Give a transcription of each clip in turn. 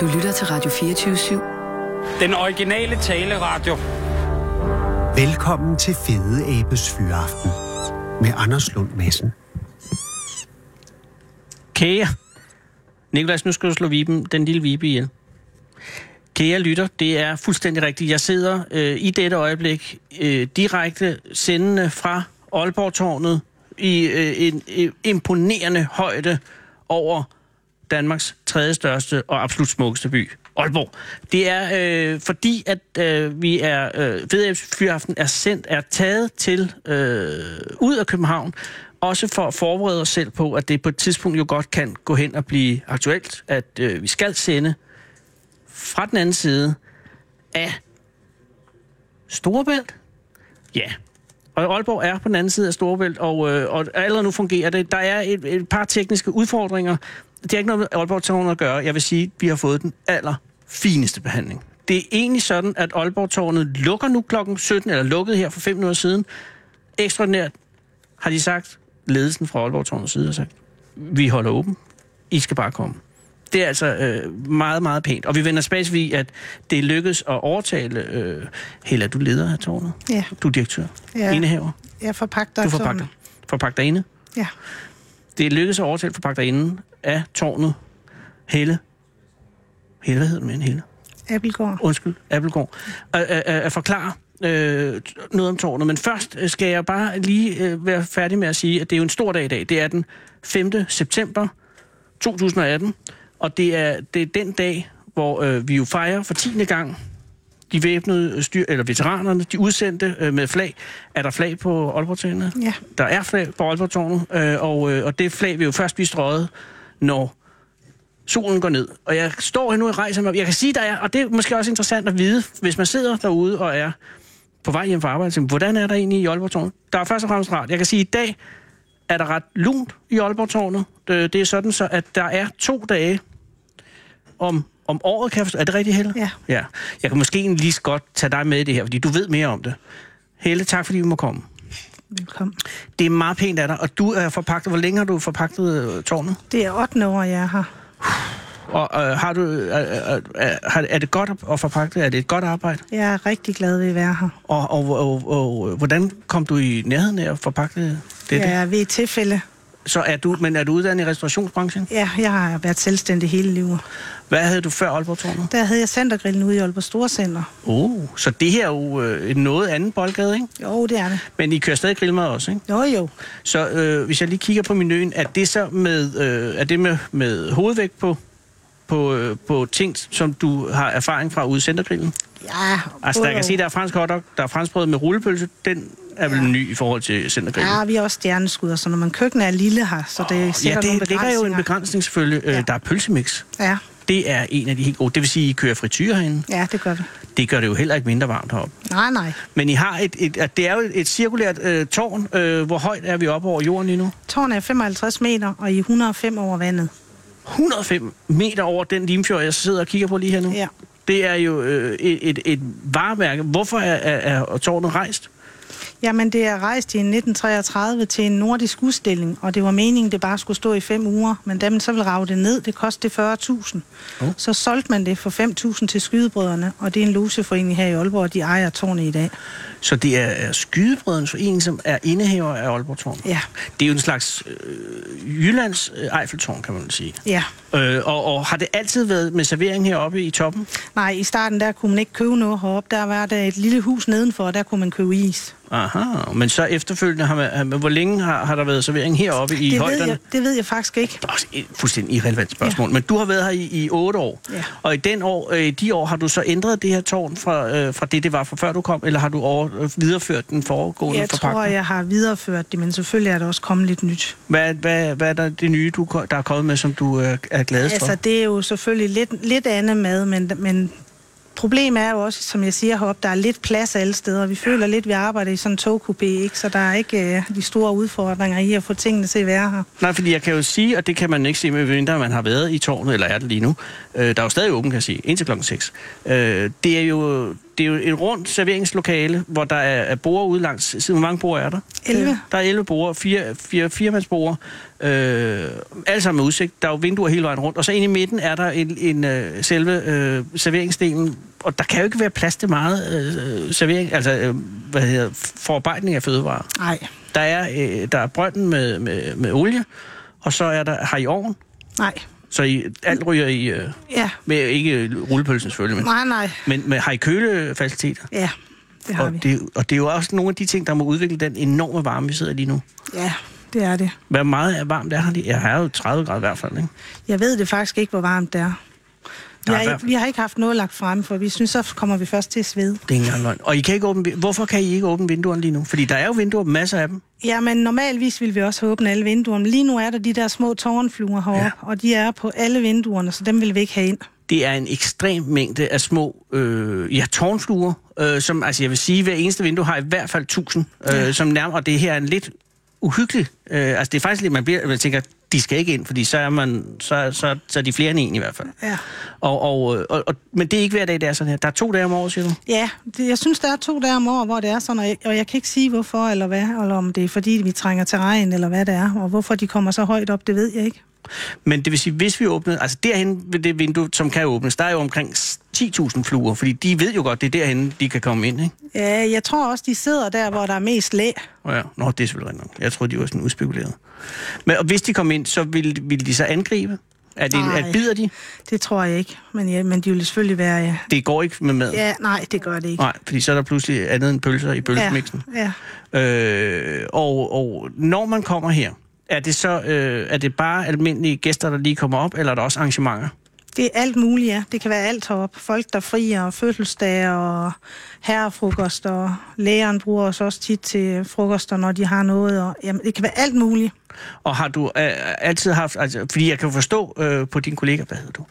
Du lytter til Radio 24 Den originale taleradio. Velkommen til Fede Abes Fyraften med Anders Lund Madsen. Kære. Nikolas, nu skal du slå viben, den lille vibe ihjel. Kære lytter, det er fuldstændig rigtigt. Jeg sidder øh, i dette øjeblik øh, direkte sendende fra Aalborg-tårnet i øh, en øh, imponerende højde over Danmarks tredje største og absolut smukkeste by, Aalborg. Det er øh, fordi, at øh, vi er øh, ved fyraften er sendt, er taget til øh, ud af København, også for at forberede os selv på, at det på et tidspunkt jo godt kan gå hen og blive aktuelt, at øh, vi skal sende fra den anden side af Storebælt. Ja. Og Aalborg er på den anden side af Storebælt, og, øh, og allerede nu fungerer det. Der er et, et par tekniske udfordringer. Det er ikke noget med Aalborg Tårnet at gøre. Jeg vil sige, at vi har fået den allerfineste behandling. Det er egentlig sådan, at Aalborg Tårnet lukker nu klokken 17, eller lukkede her for fem minutter siden. Ekstraordinært har de sagt, ledelsen fra Aalborg Tårnets side har sagt, vi holder åben. I skal bare komme. Det er altså øh, meget, meget pænt. Og vi vender spadsvig, at det lykkedes at overtale... Øh, Hella, du leder af tårnet. Ja. Du er direktør. Ja. Indehaver. Jeg forpagter. Du forpagter. Forpagter inde. Ja. Det lykkedes at overtale forpagter inden af tårnet. Helle. Helle, hvad hedder den med en Helle? Appelgård. undskyld, Appelgaard, at, at, at, at forklare øh, noget om tårnet. Men først øh, skal jeg bare lige øh, være færdig med at sige, at det er jo en stor dag i dag. Det er den 5. september 2018, og det er, det er den dag, hvor øh, vi jo fejrer for 10. gang de væbnede styr, eller veteranerne, de udsendte øh, med flag. Er der flag på Aalborg-tårnet? Ja. Der er flag på Aalborg-tårnet, øh, og, øh, og det flag vil jo først blive strøget, når solen går ned. Og jeg står her nu og rejser mig op. Jeg kan sige, der er, og det er måske også interessant at vide, hvis man sidder derude og er på vej hjem fra arbejde, tænker, hvordan er der egentlig i Aalborg Tårnet? Der er først og fremmest rart. Jeg kan sige, at i dag er der ret lunt i Aalborg Tårnet. Øh, Det er sådan så, at der er to dage om, om året, kan jeg forstå. Er det rigtigt, Helle? Ja. ja. Jeg kan måske egentlig lige så godt tage dig med i det her, fordi du ved mere om det. Helle, tak fordi vi må komme. Velkommen. Det er meget pænt af dig, og du er forpagtet. Hvor længe har du forpagtet øh, tårnet? Det er 8. år, jeg er her. Og øh, har du, øh, øh, øh, har- er det godt at forpagte? Er det et godt arbejde? Jeg er rigtig glad ved at være her. Og, og, og, og, og hvordan kom du i nærheden af at forpagte det? Det Ja. jeg er ved et tilfælde. Så er du, men er du uddannet i restaurationsbranchen? Ja, jeg har været selvstændig hele livet. Hvad havde du før Aalborg Tårnet? Der havde jeg centergrillen ude i Aalborg Storcenter. Oh, så det her er jo øh, en noget anden boldgade, ikke? Jo, det er det. Men I kører stadig grillmad også, ikke? Jo, jo. Så øh, hvis jeg lige kigger på menuen, er det så med, øh, er det med, med hovedvægt på, på, øh, på ting, som du har erfaring fra ude i centergrillen? Ja, Altså, der både kan sige, og. der er fransk hotdog, der er franskbrød med rullepølse. Den er vel Ja. ny i forhold til centergrillen. Ja, vi er også stjerneskud, og så når man køkkenet er lille her, Ah, så det er ja, sikkert nogle det ligger jo en begrænsninger. begrænsning selvfølgelig. Ja. Ja. Der er pølsemix. Ja, Det er en af de helt gode. Det vil sige, I kører frityr herinde. ja, det gør vi. Det gør det jo heller ikke mindre varmt heroppe. Nej, nej. Men I har et, et, at det er jo et cirkulært øh, tårn. Øh, hvor højt er vi oppe over jorden lige nu? Tårnet er 55 meter, og i 105 over vandet. 105 meter over den limfjord, jeg sidder og kigger på lige her nu. Ja. Det er jo øh, et, et, et varemærke. Hvorfor er, er, er tårnet rejst? Jamen, det er rejst i 1933 til en nordisk udstilling, og det var meningen, det bare skulle stå i fem uger. Men da man så ville rave det ned, det kostede 40.000. Oh. Oh. Så solgte man det for 5.000 til skydebrødrene, og det er en loseforening her i Aalborg, og de ejer tårnet i dag. Så det er, er Skydebrødrens Forening, som er indehaver af Aalborg Tårn. Ja, Det er jo en slags øh, Jyllands øh, Eiffeltårn, kan man vel sige. ja. Øh, og, og har det altid været med servering heroppe i toppen? Nej, i starten der kunne man ikke købe noget heroppe. Der var der et lille hus nedenfor, og der kunne man købe is. Aha, men så efterfølgende har man... Har, man- hvor længe har, har der været servering heroppe i det, ved højderne? jeg, det ved jeg faktisk ikke. Også et fuldstændig irrelevant spørgsmål, ja. men du har været her i, i otte år, Ja. og i den år, øh, de år har du så ændret det her tårn fra, øh, fra det, det var fra før du kom, eller har du over, øh, videreført den foregående Jeg forpagtning? tror, jeg har videreført det, men selvfølgelig er der også kommet lidt nyt. Hvad, hvad, hvad er der det nye, du, ko- der er kommet med, som du øh, er gladest Altså, for? det er jo selvfølgelig lidt, lidt andet mad, men, men problemet er jo også, som jeg siger heroppe, der er lidt plads alle steder. Vi føler lidt, at vi arbejder i sådan en togkupé, ikke? så der er ikke øh, de store udfordringer i at få tingene til at være her. Nej, fordi jeg kan jo sige, og det kan man ikke sige, medmindre man har været i tårnet, eller er det lige nu. Øh, der er jo stadig åben, kan jeg sige, indtil klokken 6. Øh, det er jo det er jo et rundt serveringslokale, hvor der er, er borer ude langs siden. Hvor mange borer er der? 11. Der er 11 borer, fire, fire, firemandsborer, øh, alle sammen med udsigt. Der er jo vinduer hele vejen rundt. Og så inde i midten er der en, en øh, selve øh, serveringsdelen, og der kan jo ikke være plads til meget øh, servering, altså øh, hvad hedder, forarbejdning af fødevarer. Nej, Der er, øh, der er brønden med, med, med olie, og så er der, har I ovn, nej. så I, alt ryger i, øh, Ja, med, ikke rullepølsen selvfølgelig, men, nej, nej. men med, har I kølefaciliteter? Ja, det har Og vi. det, og det er jo også nogle af de ting, der må udvikle den enorme varme, vi sidder i lige nu. Ja, det er det. Hvad meget er varmt er her lige? Jeg har jo 30 grader i hvert fald, ikke? Jeg ved det faktisk ikke, hvor varmt det er. Vi Nej, har, hvad- ikke, vi har ikke haft noget lagt frem, for vi synes, så kommer vi først til at svede. Det er ikke engang løgn. Og I kan ikke åbne, vin- hvorfor kan I ikke åbne vinduerne lige nu? Fordi der er jo vinduer, masser af dem. Ja, men normalvis ville vi også have åbnet alle vinduerne. men Lige nu er der de der små tårnfluer herovre, Ja. ja. og de er på alle vinduerne, så dem vil vi ikke have ind. Det er en ekstrem mængde af små øh, ja, tårnfluer, øh, som altså jeg vil sige, hver eneste vindue har i hvert fald 1000, øh, som nærmer, og det her er en lidt uhyggelig. Øh, altså det er faktisk lidt, man, bliver, man tænker, de skal ikke ind, fordi så er, man, så, så, så er de flere end en i hvert fald. Ja, Og, og, øh, og, og, men det er ikke hver dag, det er sådan her. Der er to dage om året, siger du? ja det, jeg synes, der er to dage om året, hvor det er sådan, og jeg, og jeg kan ikke sige, hvorfor eller hvad, eller om det er, fordi vi trænger til regn, eller hvad det er, og hvorfor de kommer så højt op, det ved jeg ikke. Men det vil sige, hvis vi åbnede, altså derhen ved det vindue, som kan åbnes, der er jo omkring 10.000 fluer, fordi de ved jo godt, det er derhen, de kan komme ind, ikke? Ja, jeg tror også, de sidder der, hvor der er mest læ. Og ja, nå, det er selvfølgelig rigtigt nok. Jeg troede, de var sådan udspekuleret. Men og hvis de kom ind, så ville, ville de så angribe? Er det, Nej. at bider de? Det tror jeg ikke, men, ja, men de vil selvfølgelig være... Ja. Det går ikke med mad. ja, nej, det gør det ikke. Nej, fordi så er der pludselig andet end pølser i pølsemixen. Ja, ja. Øh, og, og når man kommer her, er det så øh, er det bare almindelige gæster, der lige kommer op, eller er der også arrangementer? Det er alt muligt, ja. Det kan være alt heroppe. Folk, der frier, og fødselsdage og herrefrokost, og lægeren bruger os også tit til frokoster, når de har noget. Og, jamen, det kan være alt muligt. Og har du øh, altid haft, altså, fordi jeg kan forstå øh, på din kollega, hvad hedder du?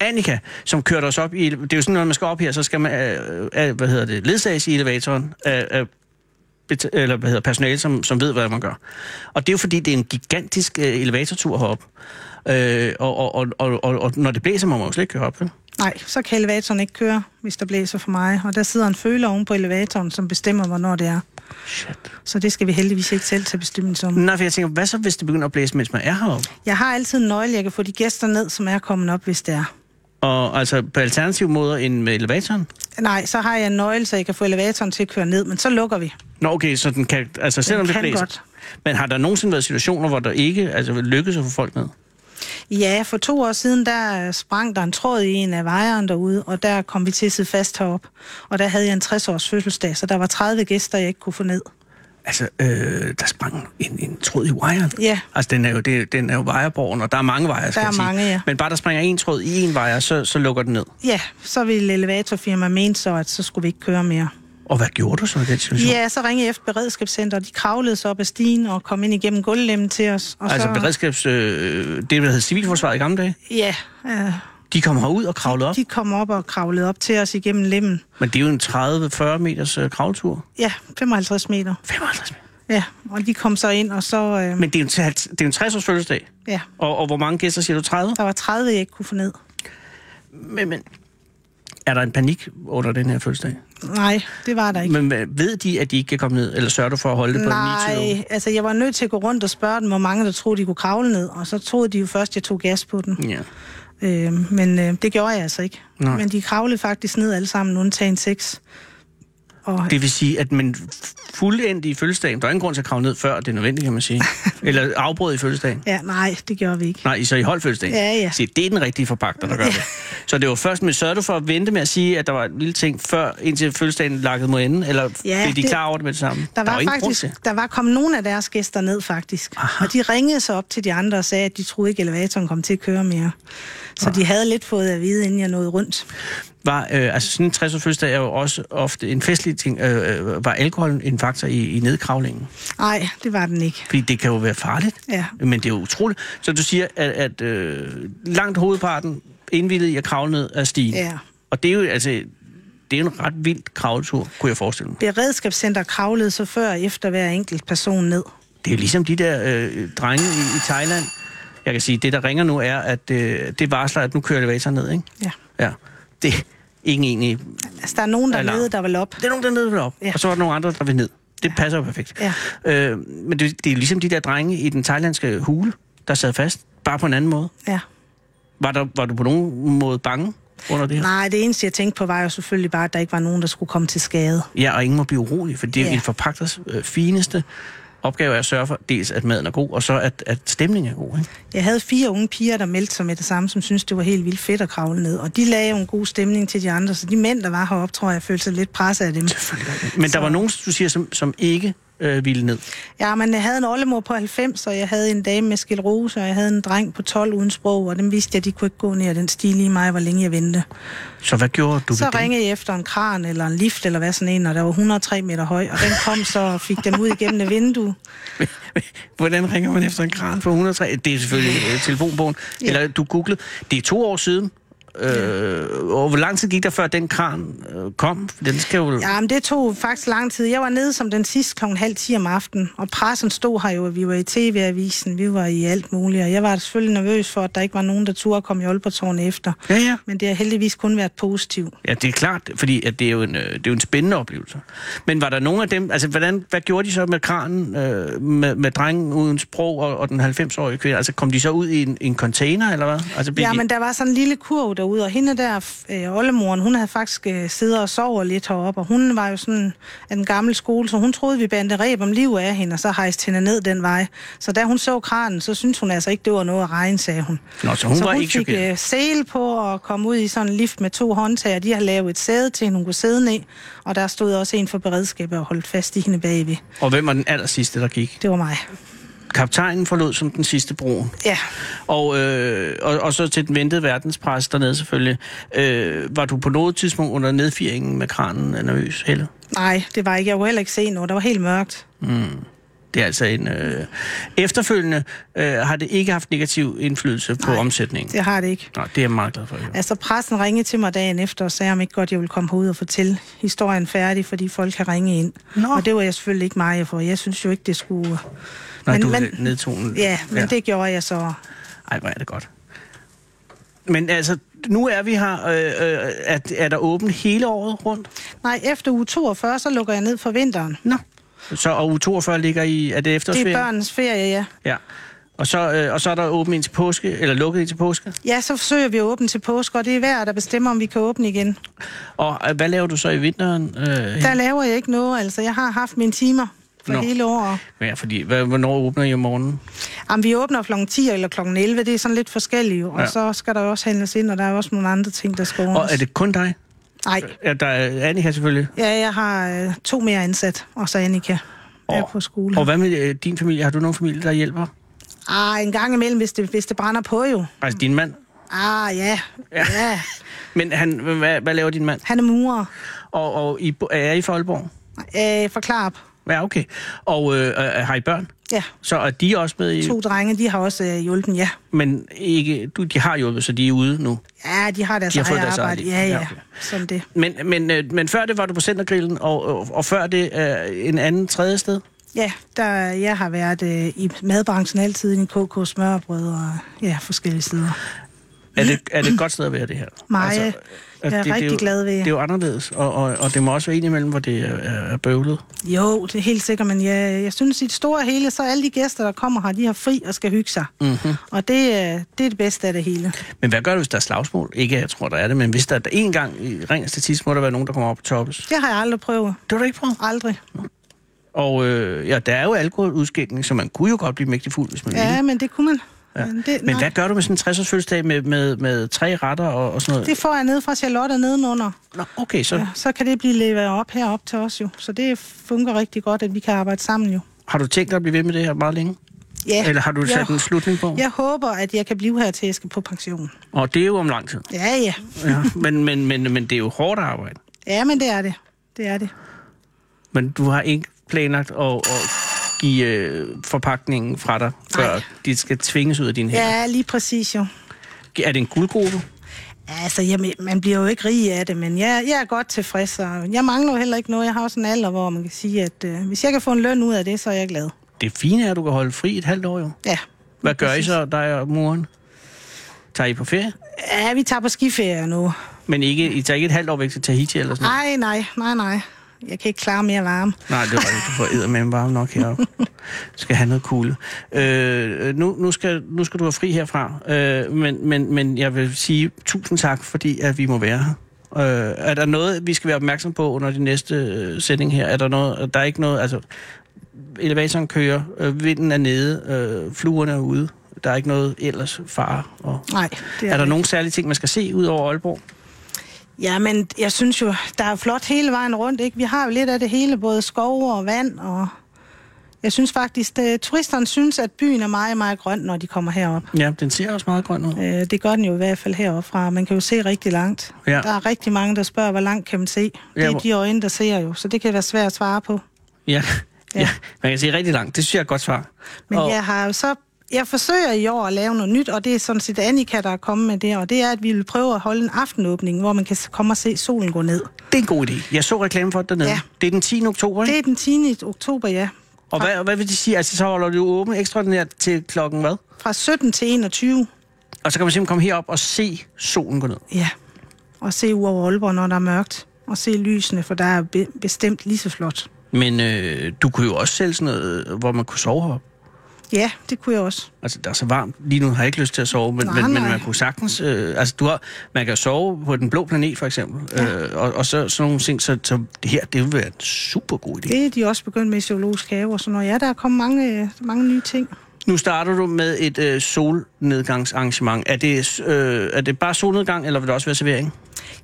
Annika, som kørte os op i... Det er jo sådan, når man skal op her, så skal man, øh, øh, hvad hedder det, ledsages i elevatoren af, af bet- eller hvad hedder, personale, som, som ved, hvad man gør. Og det er jo fordi, det er en gigantisk øh, elevatortur heroppe. Øh, og, og, og, og, og, og, når det blæser, må man jo slet ikke køre op. Vel? Nej, så kan elevatoren ikke køre, hvis der blæser for mig. Og der sidder en føler oven på elevatoren, som bestemmer, hvornår det er. Shit. Så det skal vi heldigvis ikke selv tage bestemmelse om. Nå, for jeg tænker, hvad så, hvis det begynder at blæse, mens man er heroppe? Jeg har altid en nøgle, jeg kan få de gæster ned, som er kommet op, hvis det er. Og altså på alternativ måder end med elevatoren? Nej, så har jeg en nøgle, så jeg kan få elevatoren til at køre ned, men så lukker vi. Nå, okay, så den kan... Altså, selvom det kan blæser... godt. Men har der nogensinde været situationer, hvor der ikke altså, lykkedes at få folk ned? Ja, for to år siden, der øh, sprang der en tråd i en af vejeren derude, og der kom vi til at sidde fast heroppe. Og der havde jeg en 60-års fødselsdag, så der var 30 gæster, jeg ikke kunne få ned. Altså, øh, der sprang en, en tråd i wiren. Ja. Altså, den er jo, det, den er jo wireborgen, og der er mange wire, skal er jeg sige. mange, ja. Men bare der springer en tråd i en wire, så, så lukker den ned. Ja, så ville elevatorfirmaet mene så, at så skulle vi ikke køre mere. Og hvad gjorde du så i den situation? Ja, så ringede jeg efter beredskabscenter, og de kravlede så op ad stigen og kom ind igennem gulvlemmen til os. Og Altså, så, beredskabs... Øh, det, der hed civilforsvaret i gamle dage, Ja, øh, de kom herud og kravlede op. de kom op og kravlede op til os igennem lemmen. Men det er jo en 30-40 meters øh, kravletur. Ja, 55 meter. 55 meter. Ja, og de kom så ind, og så... Øh, Men det er jo en, tals- det er jo en 60-års fødselsdag. ja, Og, og hvor mange gæster siger du? 30? der var 30, jeg ikke kunne få ned. Men, men er der en panik under den her fødselsdag? Nej, det var der ikke. Men hvad- ved de, at de ikke kan komme ned, eller sørger du for at holde det på en 29? Nej, altså jeg var nødt til at gå rundt og spørge dem, hvor mange der troede, de kunne kravle ned, og så troede de jo først, at jeg tog gas på den. Ja. Øh, men øh, det gjorde jeg altså ikke. Nej. Men de kravlede faktisk ned alle sammen, undtagen seks. Og det... Det vil sige, at man fuldendt i fødselsdagen, der er ingen grund til at kravle ned før, det er nødvendigt, kan man sige. Eller afbrød i fødselsdagen. ja, nej, det gjorde vi ikke. Nej, I så i holdt fødselsdagen. Ja, ja. Se, det er den rigtige forpagter, der gør det. Så det var først, men sørger du for at vente med at sige, at der var en lille ting før, indtil fødselsdagen lakkede mod enden? Eller Ja, blev de det- klar over det med det samme? Der er var, jo ingen grund faktisk, til. der var kommet nogle af deres gæster ned, faktisk. Aha. Og de ringede så op til de andre og sagde, at de troede ikke, elevatoren kom til at køre mere. Så Ah. de havde lidt fået at vide, inden jeg nåede rundt. Var, øh, altså sådan en 60 års fødselsdag er jo også ofte en festlig ting. Øh, øh, var alkohol en faktor i, i nedkravlingen? Nej, det var den ikke. Fordi det kan jo være farligt. Ja. Men det er jo utroligt. Så du siger, at, at øh, langt hovedparten indvildet i at kravle ned af stigen. Ja. Og det er jo altså, det er jo en ret vild kravletur, kunne jeg forestille mig. Beredskabscenter kravlede så før og efter hver enkelt person ned. Det er jo ligesom de der øh, drenge i, i Thailand. Jeg kan sige, det der ringer nu er, at øh, det varsler, at nu kører elevatoren ned, ikke? Ja. Ja. Det, ingen egentlig... Altså, der er nogen Alarm. dernede, der vil op. Der er nogen dernede, der vil op, ja. Ja. og så er der nogle andre, der vil ned. Det passer jo perfekt. Ja. Øh, men det, det er ligesom de der drenge i den thailandske hule, der sad fast, bare på en anden måde. Ja. Var, der, var du på nogen måde bange under det her? Nej, det eneste, jeg tænkte på, var jo selvfølgelig bare, at der ikke var nogen, der skulle komme til skade. Ja, og ingen må blive urolig, for det er ja. Ja. en forpagters øh, fineste opgave er at sørge for, dels at maden er god, og så at, at stemningen er god. Ikke? Jeg havde fire unge piger, der meldte sig med det samme, som syntes, det var helt vildt fedt at kravle ned. Og de lagde jo en god stemning til de andre, så de mænd, der var heroppe, tror jeg, følte sig lidt presset af dem. Men der var nogen, du siger, som, som ikke øh, ville ned. Ja, men jeg havde en oldemor på 90, og jeg havde en dame med skilrose, og jeg havde en dreng på 12 uden sprog, og dem vidste jeg, de kunne ikke gå ned ad den sti lige mig, hvor længe jeg ventede. Så hvad gjorde du Så ved det? ringede jeg efter en kran eller en lift eller hvad sådan en, og der var 103 meter høj, og den kom så og fik dem ud igennem det vindue. Hvordan ringer man efter en kran på 103? Det er selvfølgelig øh, telefonbogen. Ja. Ja. Eller du googlede. Det er to år siden. Øh, og hvor lang tid gik der, før den kran øh, kom? For Den skal jo... Ja, men det tog faktisk lang tid. Jeg var nede som den sidste klokken halv 10 om aftenen, og pressen stod her jo, og vi var i TV-avisen, vi var i alt muligt, og jeg var selvfølgelig nervøs for, at der ikke var nogen, der turde komme i Aalborg efter. Ja, ja. Men det har heldigvis kun været positivt. Ja, det er klart, fordi at det, er jo en, øh, det er jo en spændende oplevelse. Men var der nogen af dem, altså hvordan, hvad gjorde de så med kranen, øh, med, med drengen uden sprog og, og den 90-årige kvinde? Altså kom de så ud i en, en container, eller hvad? Altså, blev Ja, de, men der var sådan en lille kurv derude, og hende der, f- øh, oldemoren, hun havde faktisk øh, siddet og sovet lidt heroppe, og hun var jo sådan af den gamle skole, så hun troede, vi bandte reb om liv af hende, og så hejste hende ned den vej. Så da hun så kranen, så syntes hun altså ikke, det var noget at regne, sagde hun. Nå, så hun så var hun ikke fik chokeret. øh, sæl på og kom ud i sådan en lift med to håndtag, og de har lavet et sæde til hende, hun kunne sidde ned, og der stod også en for beredskabet og holdt fast i hende bagved. Og hvem var den aller sidste, der gik? Det var mig. Kaptajnen forlod som den sidste broen. Ja, Og, øh, og, og så til den ventede verdenspres dernede selvfølgelig. Øh, var du på noget tidspunkt under nedfiringen med kranen nervøs heller? nej, det var ikke. Jeg kunne heller ikke se noget. Der var helt mørkt. Det er altså en... Øh, efterfølgende øh, har det ikke haft negativ indflydelse på omsætningen. Det har det ikke. Nå, det er jeg meget glad for. Ja. Altså, pressen ringede til mig dagen efter og sagde, om ikke godt, jeg ville komme herud og fortælle historien færdig, fordi folk kan ringe ind. Nå. Og det var jeg selvfølgelig ikke mig for. Jeg synes jo ikke, det skulle... Når men, du men, nedtonen. Ja, men ja. det gjorde jeg så. Ej, hvor er det godt. Men altså, nu er vi her. Øh, øh, er, er der åbent hele året rundt? Nej, efter uge 42, så lukker jeg ned for vinteren. Nå. Så, og uge 42 ligger i... Er det Det efterårsferien? er børnens ferie, ja. Ja. Og så, øh, og så er der åbent indtil påske, eller lukket indtil påske. Ja, så forsøger vi at åbne til påske, og det er hver, der bestemmer, om vi kan åbne igen. Og øh, hvad laver du så i vinteren? Øh, Der laver jeg ikke noget, altså. Jeg har haft mine timer for Nå. Nå. hele året. ja, fordi, hvad, hvornår åbner I om morgenen? Jamen, vi åbner kl. 10 eller kl. 11, det er sådan lidt forskelligt, jo. og Ja. ja. så skal der jo også handles ind, og der er også nogle andre ting, der skal ordnes. Og er det kun dig? Nej, Ja, der er Annika selvfølgelig. Ja, jeg har øh, to mere ansat, og så Annika og, er på skole. Og hvad med øh, din familie? Har du nogen familie, der hjælper? Ah, en gang imellem, hvis det, hvis det brænder på jo. Altså din mand? Ah, ja. Ja. ja. ja. Men han, hvad, hvad laver din mand? Han er murer. Og, og I, bo- er I fra Aalborg? Øh, forklar op. Ja, okay. Og øh, øh, har I børn? Ja, Så er de også med i... to drenge, de har også øh, hjulpet, ja. Men ikke, du, de har hjulpet, så de er ude nu. Ja, de har deres De har fået eget deres eget arbejde. liv. ja, Ja, ja, okay. som det. Men, men, øh, men før det var du på Centergrillen, og, og, og før det øh, en anden tredje sted? Ja, der, jeg har været øh, i madbranchen altid, i KK smørbrød og ja, forskellige steder. Er det, er det et godt sted at være, det her? Altså, Meget. at Jeg er det rigtig jo, glad ved jer. Det er jo anderledes, og, og, og det må også være en imellem, hvor det er, er bøvlet. Jo, det er helt sikkert, men jeg, jeg synes i det store hele, så alle de gæster, der kommer her, de har fri og skal hygge sig. Mhm. Mm-hmm. Og det, øh, det er det bedste af det hele. Men hvad gør du, hvis der er slagsmål? Ikke, at jeg tror, der er det, men hvis der er en gang i ren statistisk, må der være nogen, der kommer op og toppes. Det Det har jeg aldrig prøvet. har du ikke prøvet. Aldrig. Og øh, ja, der er jo alkoholudskænkning, så man kunne jo godt blive mægtig fuld, hvis man Ja, ville. men det kunne man. Ja. Men, det, Men nej. hvad gør du med sådan en 60-års fødselsdag med, med, med tre retter og, og sådan noget? det får jeg ned fra Charlotte og nedenunder. Nå, okay, så Ja, så kan det blive leveret op herop til os jo. Så det fungerer rigtig godt, at vi kan arbejde sammen jo. har du tænkt dig at blive ved med det her meget længe? Ja. Eller har du sat en slutning på? Jeg håber, at jeg kan blive her til, jeg skal på pension. Og det er jo om lang tid. Ja, ja. Ja. men, men, men, men det er jo hårdt arbejde. Ja, men det er det. Det er det. Men du har ikke planlagt at, at give øh, forpakningen fra dig, før Nej. de skal tvinges ud af dine hænder. Ja, lige præcis jo. Er det en guldgruppe? Altså, jamen, man bliver jo ikke rig af det, men jeg, jeg er godt tilfreds, og jeg mangler jo heller ikke noget. Jeg har også en alder, hvor man kan sige, at øh, hvis jeg kan få en løn ud af det, så er jeg glad. Det fine er, at du kan holde fri et halvt år jo. Ja. Hvad gør I så, dig og moren? Tager I på ferie? Ja, vi tager på skiferie nu. Men ikke, I tager ikke et halvt år væk til Tahiti eller sådan noget? Nej, nej, nej, nej. Jeg kan ikke klare mere varme. Nej, det var ikke. Du får eddermame varme nok heroppe. Du skal have noget kugle. Øh, nu, nu, skal, nu skal du have fri herfra. Øh, men, men, men jeg vil sige tusind tak, fordi at vi må være her. Øh, er der noget, vi skal være opmærksom på under de næste øh, sending her? Er der noget, der er ikke noget, altså elevatoren kører, øh, vinden er nede, øh, fluerne er ude. Der er ikke noget ellers fare. Og... Nej, det Er, er der ikke. nogle særlige ting, man skal se ud over Aalborg? Ja, men jeg synes jo, der er flot hele vejen rundt, ikke? Vi har jo lidt af det hele, både skov og vand, og jeg synes faktisk, at turisterne synes, at byen er meget, meget grøn, når de kommer herop. Ja, den ser også meget grøn ud. Øh, Det gør den jo i hvert fald heroppe fra. Man kan jo se rigtig langt. Ja. Der er rigtig mange, der spørger, hvor langt kan man se. Det Ja, er hvor- de øjne, der ser jo, så det kan være svært at svare på. Ja. Ja. Ja. ja, man kan se rigtig langt. Det synes jeg er et godt svar. Men Og- og... jeg har jo så... Jeg forsøger i år at lave noget nyt, og det er sådan set Annika, der er kommet med det, og det er, at vi vil prøve at holde en aftenåbning, hvor man kan s- komme og se solen gå ned. Det er en god idé. Jeg så reklame for det dernede. Ja. Ja. Det er den 10. oktober, ikke? Det Det... er den 10. oktober, ja. Og hvad, hvad vil de sige? Altså, så holder du åben ekstraordinært til klokken hvad? Fra 17 til 21, Og så kan man simpelthen komme herop og se solen gå ned. ja. Og se ud over Aalborg, når der er mørkt. Og se lysene, for der er be- bestemt lige så flot. Men øh, du kunne jo også sælge sådan noget, øh, hvor man kunne sove heroppe. Ja, det kunne jeg også. Altså, der er så varmt. Lige nu har jeg ikke lyst til at sove, men, Nej, men, men nej. man kunne sagtens... Øh, altså, du har, man kan jo sove på den blå planet, for eksempel. Ja. Øh, og, og så sådan nogle ting, så, så det her, det vil være en super god idé. Det er de også begyndt med i zoologisk have og sådan noget. Ja, der er kommet mange, øh, mange nye ting. Nu starter du med et øh, solnedgangsarrangement. Er det, øh, er det bare solnedgang, eller vil der også være servering?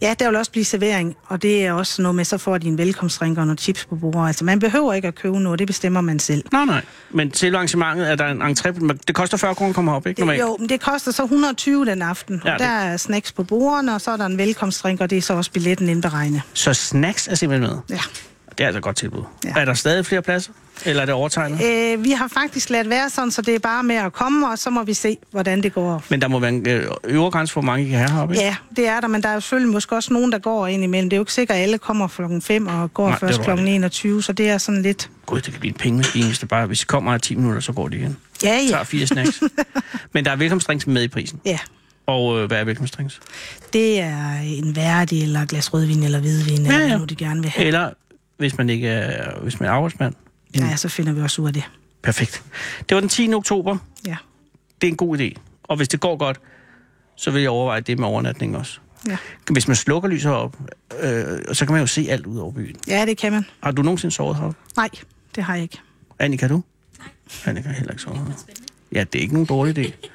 Ja, der vil også blive servering, og det er også noget med, så får de en velkomstdrink og nogle chips på bordet. Altså, man behøver ikke at købe noget, det bestemmer man selv. Nej, nej. Men selve arrangementet er der en entré. men Det koster 40 kroner at komme op, ikke? Normalt. Jo, men det koster så 120 den aften. Ja, Ja, det- der er snacks på bordene, og så er der en velkomstdrink, og det er så også billetten indberegnet. Så snacks er simpelthen med. Ja. Det er altså et godt tilbud. Ja. Ja. Er der stadig flere pladser? Eller er det overtegnet? Øh. Øh, vi har faktisk ladt være sådan, så det er bare med at komme, og så må vi se, hvordan det går. Men der må være en øh, øvre grænse for, hvor mange I kan have heroppe, ikke? Ja, det er der, men der er jo selvfølgelig måske også nogen, der går ind imellem. Det er jo ikke sikkert, at alle kommer klokken 5 og går Nej, Nej, det først var kl. det. 21, så det er sådan lidt... Gud, det kan blive en pengemaskine, hvis det bare... Hvis I kommer her 10 minutter, så går det igen. Ja, Tager ja. fire snacks. Men der er velkomstdrinks med i prisen. Ja, Og øh, hvad er velkomstdrinks? det er en værdig, eller et glas rødvin, eller hvidvin, ja, Ja, ja. eller ja. hvad nu de gerne vil have. Eller, hvis man ikke er, hvis man er arbejdsmand. En, Ja, så finder vi også ud af det. Perfekt. Det var den 10. oktober. Ja. Det er en god idé. Og hvis det går godt, så vil jeg overveje det med overnatning også. Ja. Hvis man slukker lyset op, øh, så kan man jo se alt ud over byen. ja, det kan man. Har du nogensinde sovet heroppe? Nej, det har jeg ikke. Annika, du? Nej. Annika har heller ikke sovet heroppe. Ja, det er ikke nogen dårlig idé.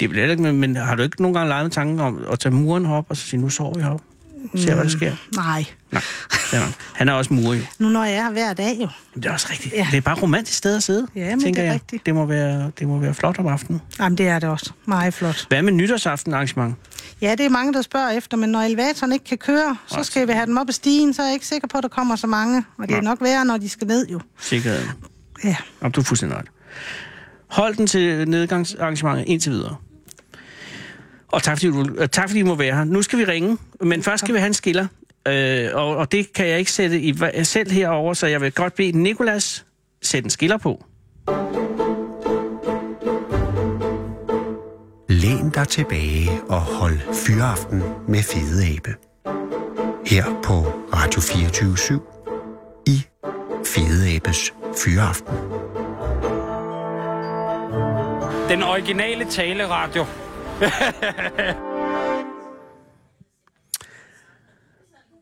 Det er vel heller ikke, men, men har du ikke nogen gange leget med tanken om at tage muren herop og så sige, nu sover vi heroppe? Se, Mm. hvad der sker. Nej. Nej, det er nok. Han er også murer jo. Nu når jeg er her hver dag jo. Men det er også rigtigt. Ja. Ja. Det er bare et romantisk sted at sidde, Ja, men det tænker er jeg. rigtigt. Det må, være, det må være flot om aftenen. Jamen, det er det også. Meget flot. Hvad med nytårsaften arrangement? Ja, det er mange, der spørger efter, men når elevatoren ikke kan køre, så skal vi have dem op ad stigen, så er jeg ikke sikker på, at der kommer så mange. Og det er nok værre, når de skal ned jo. Sikkerheden. Ja. Jamen, du er fuldstændig ret. Hold den til nedgangsarrangementet indtil videre. Og tak fordi, du, øh, tak fordi I må være her. Nu skal vi ringe, men først skal vi have en skiller. Øh, og, og det kan jeg ikke sætte i, hva- selv herover, så jeg vil godt bede Nikolas sætte en skiller på. Læn dig tilbage og hold fyraften med Fede Abe. Her på Radio 24 i Fede Abes Fyraften. Den originale taleradio.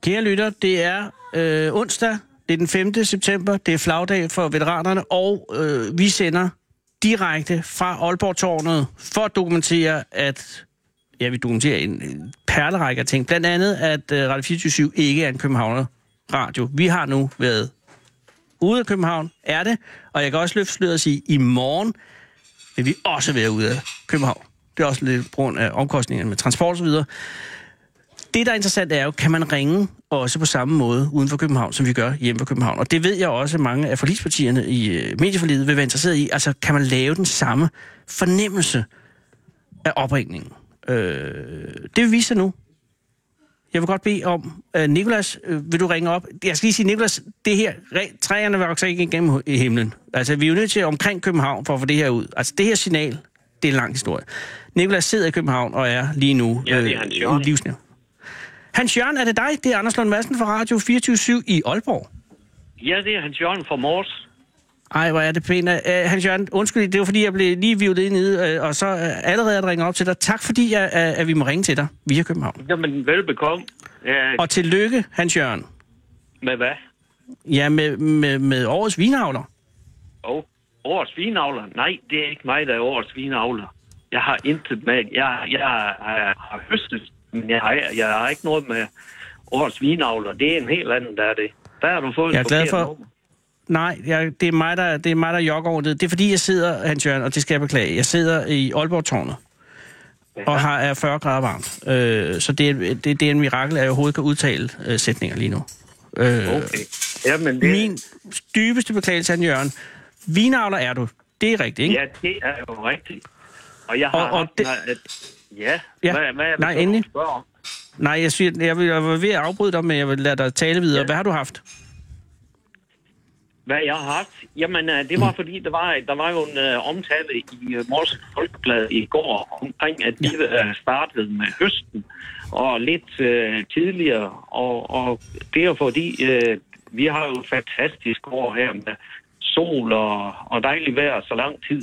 Kære lytter, det er øh, onsdag, det er den 5. september, det er flagdag for veteranerne, og øh, vi sender direkte fra Aalborg-tårnet for at dokumentere, at ja, vi dokumenterer en en perlerække af ting. Blandt andet, at øh, Radio 24 ikke er en københavner radio. Vi har nu været ude af København, er det, og jeg kan også løfte sløret og sige, i morgen vil vi også være ude af København. Det er også lidt på grund af omkostningerne med transport og så videre. Det, der er interessant, er jo, kan man ringe også på samme måde uden for København, som vi gør hjemme for København? Og det ved jeg også, at mange af forligspartierne i øh, medieforliget vil være interesseret i. Altså, kan man lave den samme fornemmelse af opringningen? Øh, det vil vise sig nu. Jeg vil godt bede om, øh, Nikolas, øh, vil du ringe op? Jeg skal lige sige, Nikolas, det her, re- træerne vokser ikke igennem hu- i himlen. Altså, vi er jo nødt til omkring København for at få det her ud. Altså, det her signal, det er en lang historie. Nikolas sidder i København og er lige nu Ja, det er han jo. livsnær. Hans Jørgen, er det dig? Det er Anders Lund Madsen fra Radio 24 i Aalborg. Ja, det er Hans Jørgen fra Mors. Ej, hvor er det pænt. Øh, Hans Jørgen, undskyld, det var fordi, jeg blev lige vivet ind i øh, og så øh, allerede at ringe op til dig. Tak fordi, at, at at vi må ringe til dig via København. Jamen, velbekomme. Ja, Og tillykke, Hans Jørgen. med hvad? Ja, med, med, med årets vinavler. Og årets vinavler? Nej, det er ikke mig, der er årets vinavler. Jeg har intet med... Jeg, jeg, jeg har høstet, men jeg har, jeg har ikke noget med årets vinavler. Det er en helt anden, der er det. Der har du fået Jeg er et glad forkert for- nummer. Nej, jeg, det er mig, der, det er mig, der jokker over det. Det er fordi, jeg sidder, Hans Jørgen, og det skal jeg beklage, jeg sidder i Aalborg-tårnet og har er 40 grader varmt. Øh, så det, er- det, det er en mirakel, at jeg overhovedet kan udtale øh, sætninger lige nu. Øh, Okay. Jamen, det, Min dybeste beklagelse, Hans Jørgen. Vinavler er du. Det er rigtigt, ikke? Ja, det er jo rigtigt. Og jeg har... Og- og haft det- mig, at, ja, Ja, Hvad, hvad er det, nej, du endelig. spørger om? Nej, jeg, siger, jeg, vil, jeg var ved at afbryde dig, men jeg vil lade dig tale videre. Ja. Ja. Hvad har du haft? Hvad jeg har haft? Jamen, øh, det var fordi, der var, der var jo en øh, omtale i øh, Mors Folkeblad i går omkring, at de øh, startede med høsten og lidt øh, tidligere. Og, og det er jo fordi, øh, vi har jo et fantastisk år her med sol og, og dejligt vejr så lang tid.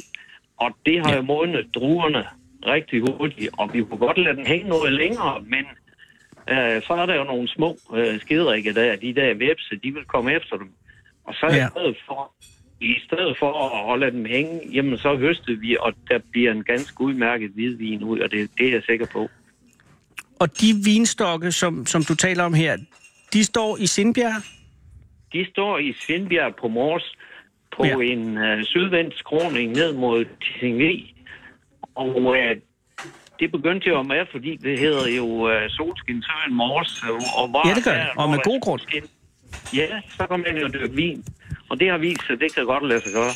Og det har jo modnet druerne rigtig hurtigt, og vi kunne godt lade den hænge noget længere, men øh, så er der jo nogle små øh, skidrikke der, de der vepse, de vil komme efter dem. Og så Ja. ja. i, stedet for, i stedet for at- at lade dem hænge, jamen så høstede vi, og der bliver en ganske udmærket hvidvin ud, og det, det er jeg sikker på. Og de vinstokke, som, som du taler om her, de står i Sindbjerg. De står i Svendbjerg på Mors på Ja. ja. en øh, sydvendt skråning ned mod Tissingli. Og øh, det begyndte jeg jo med, fordi det hedder jo øh, Solskinsøen Mors. øh, Og var Ja, det gør det. der, Og hvor med der god grund. solskin. Ja, så kom man jo dyrke vin. Og det har vist sig, det kan godt lade sig gøre.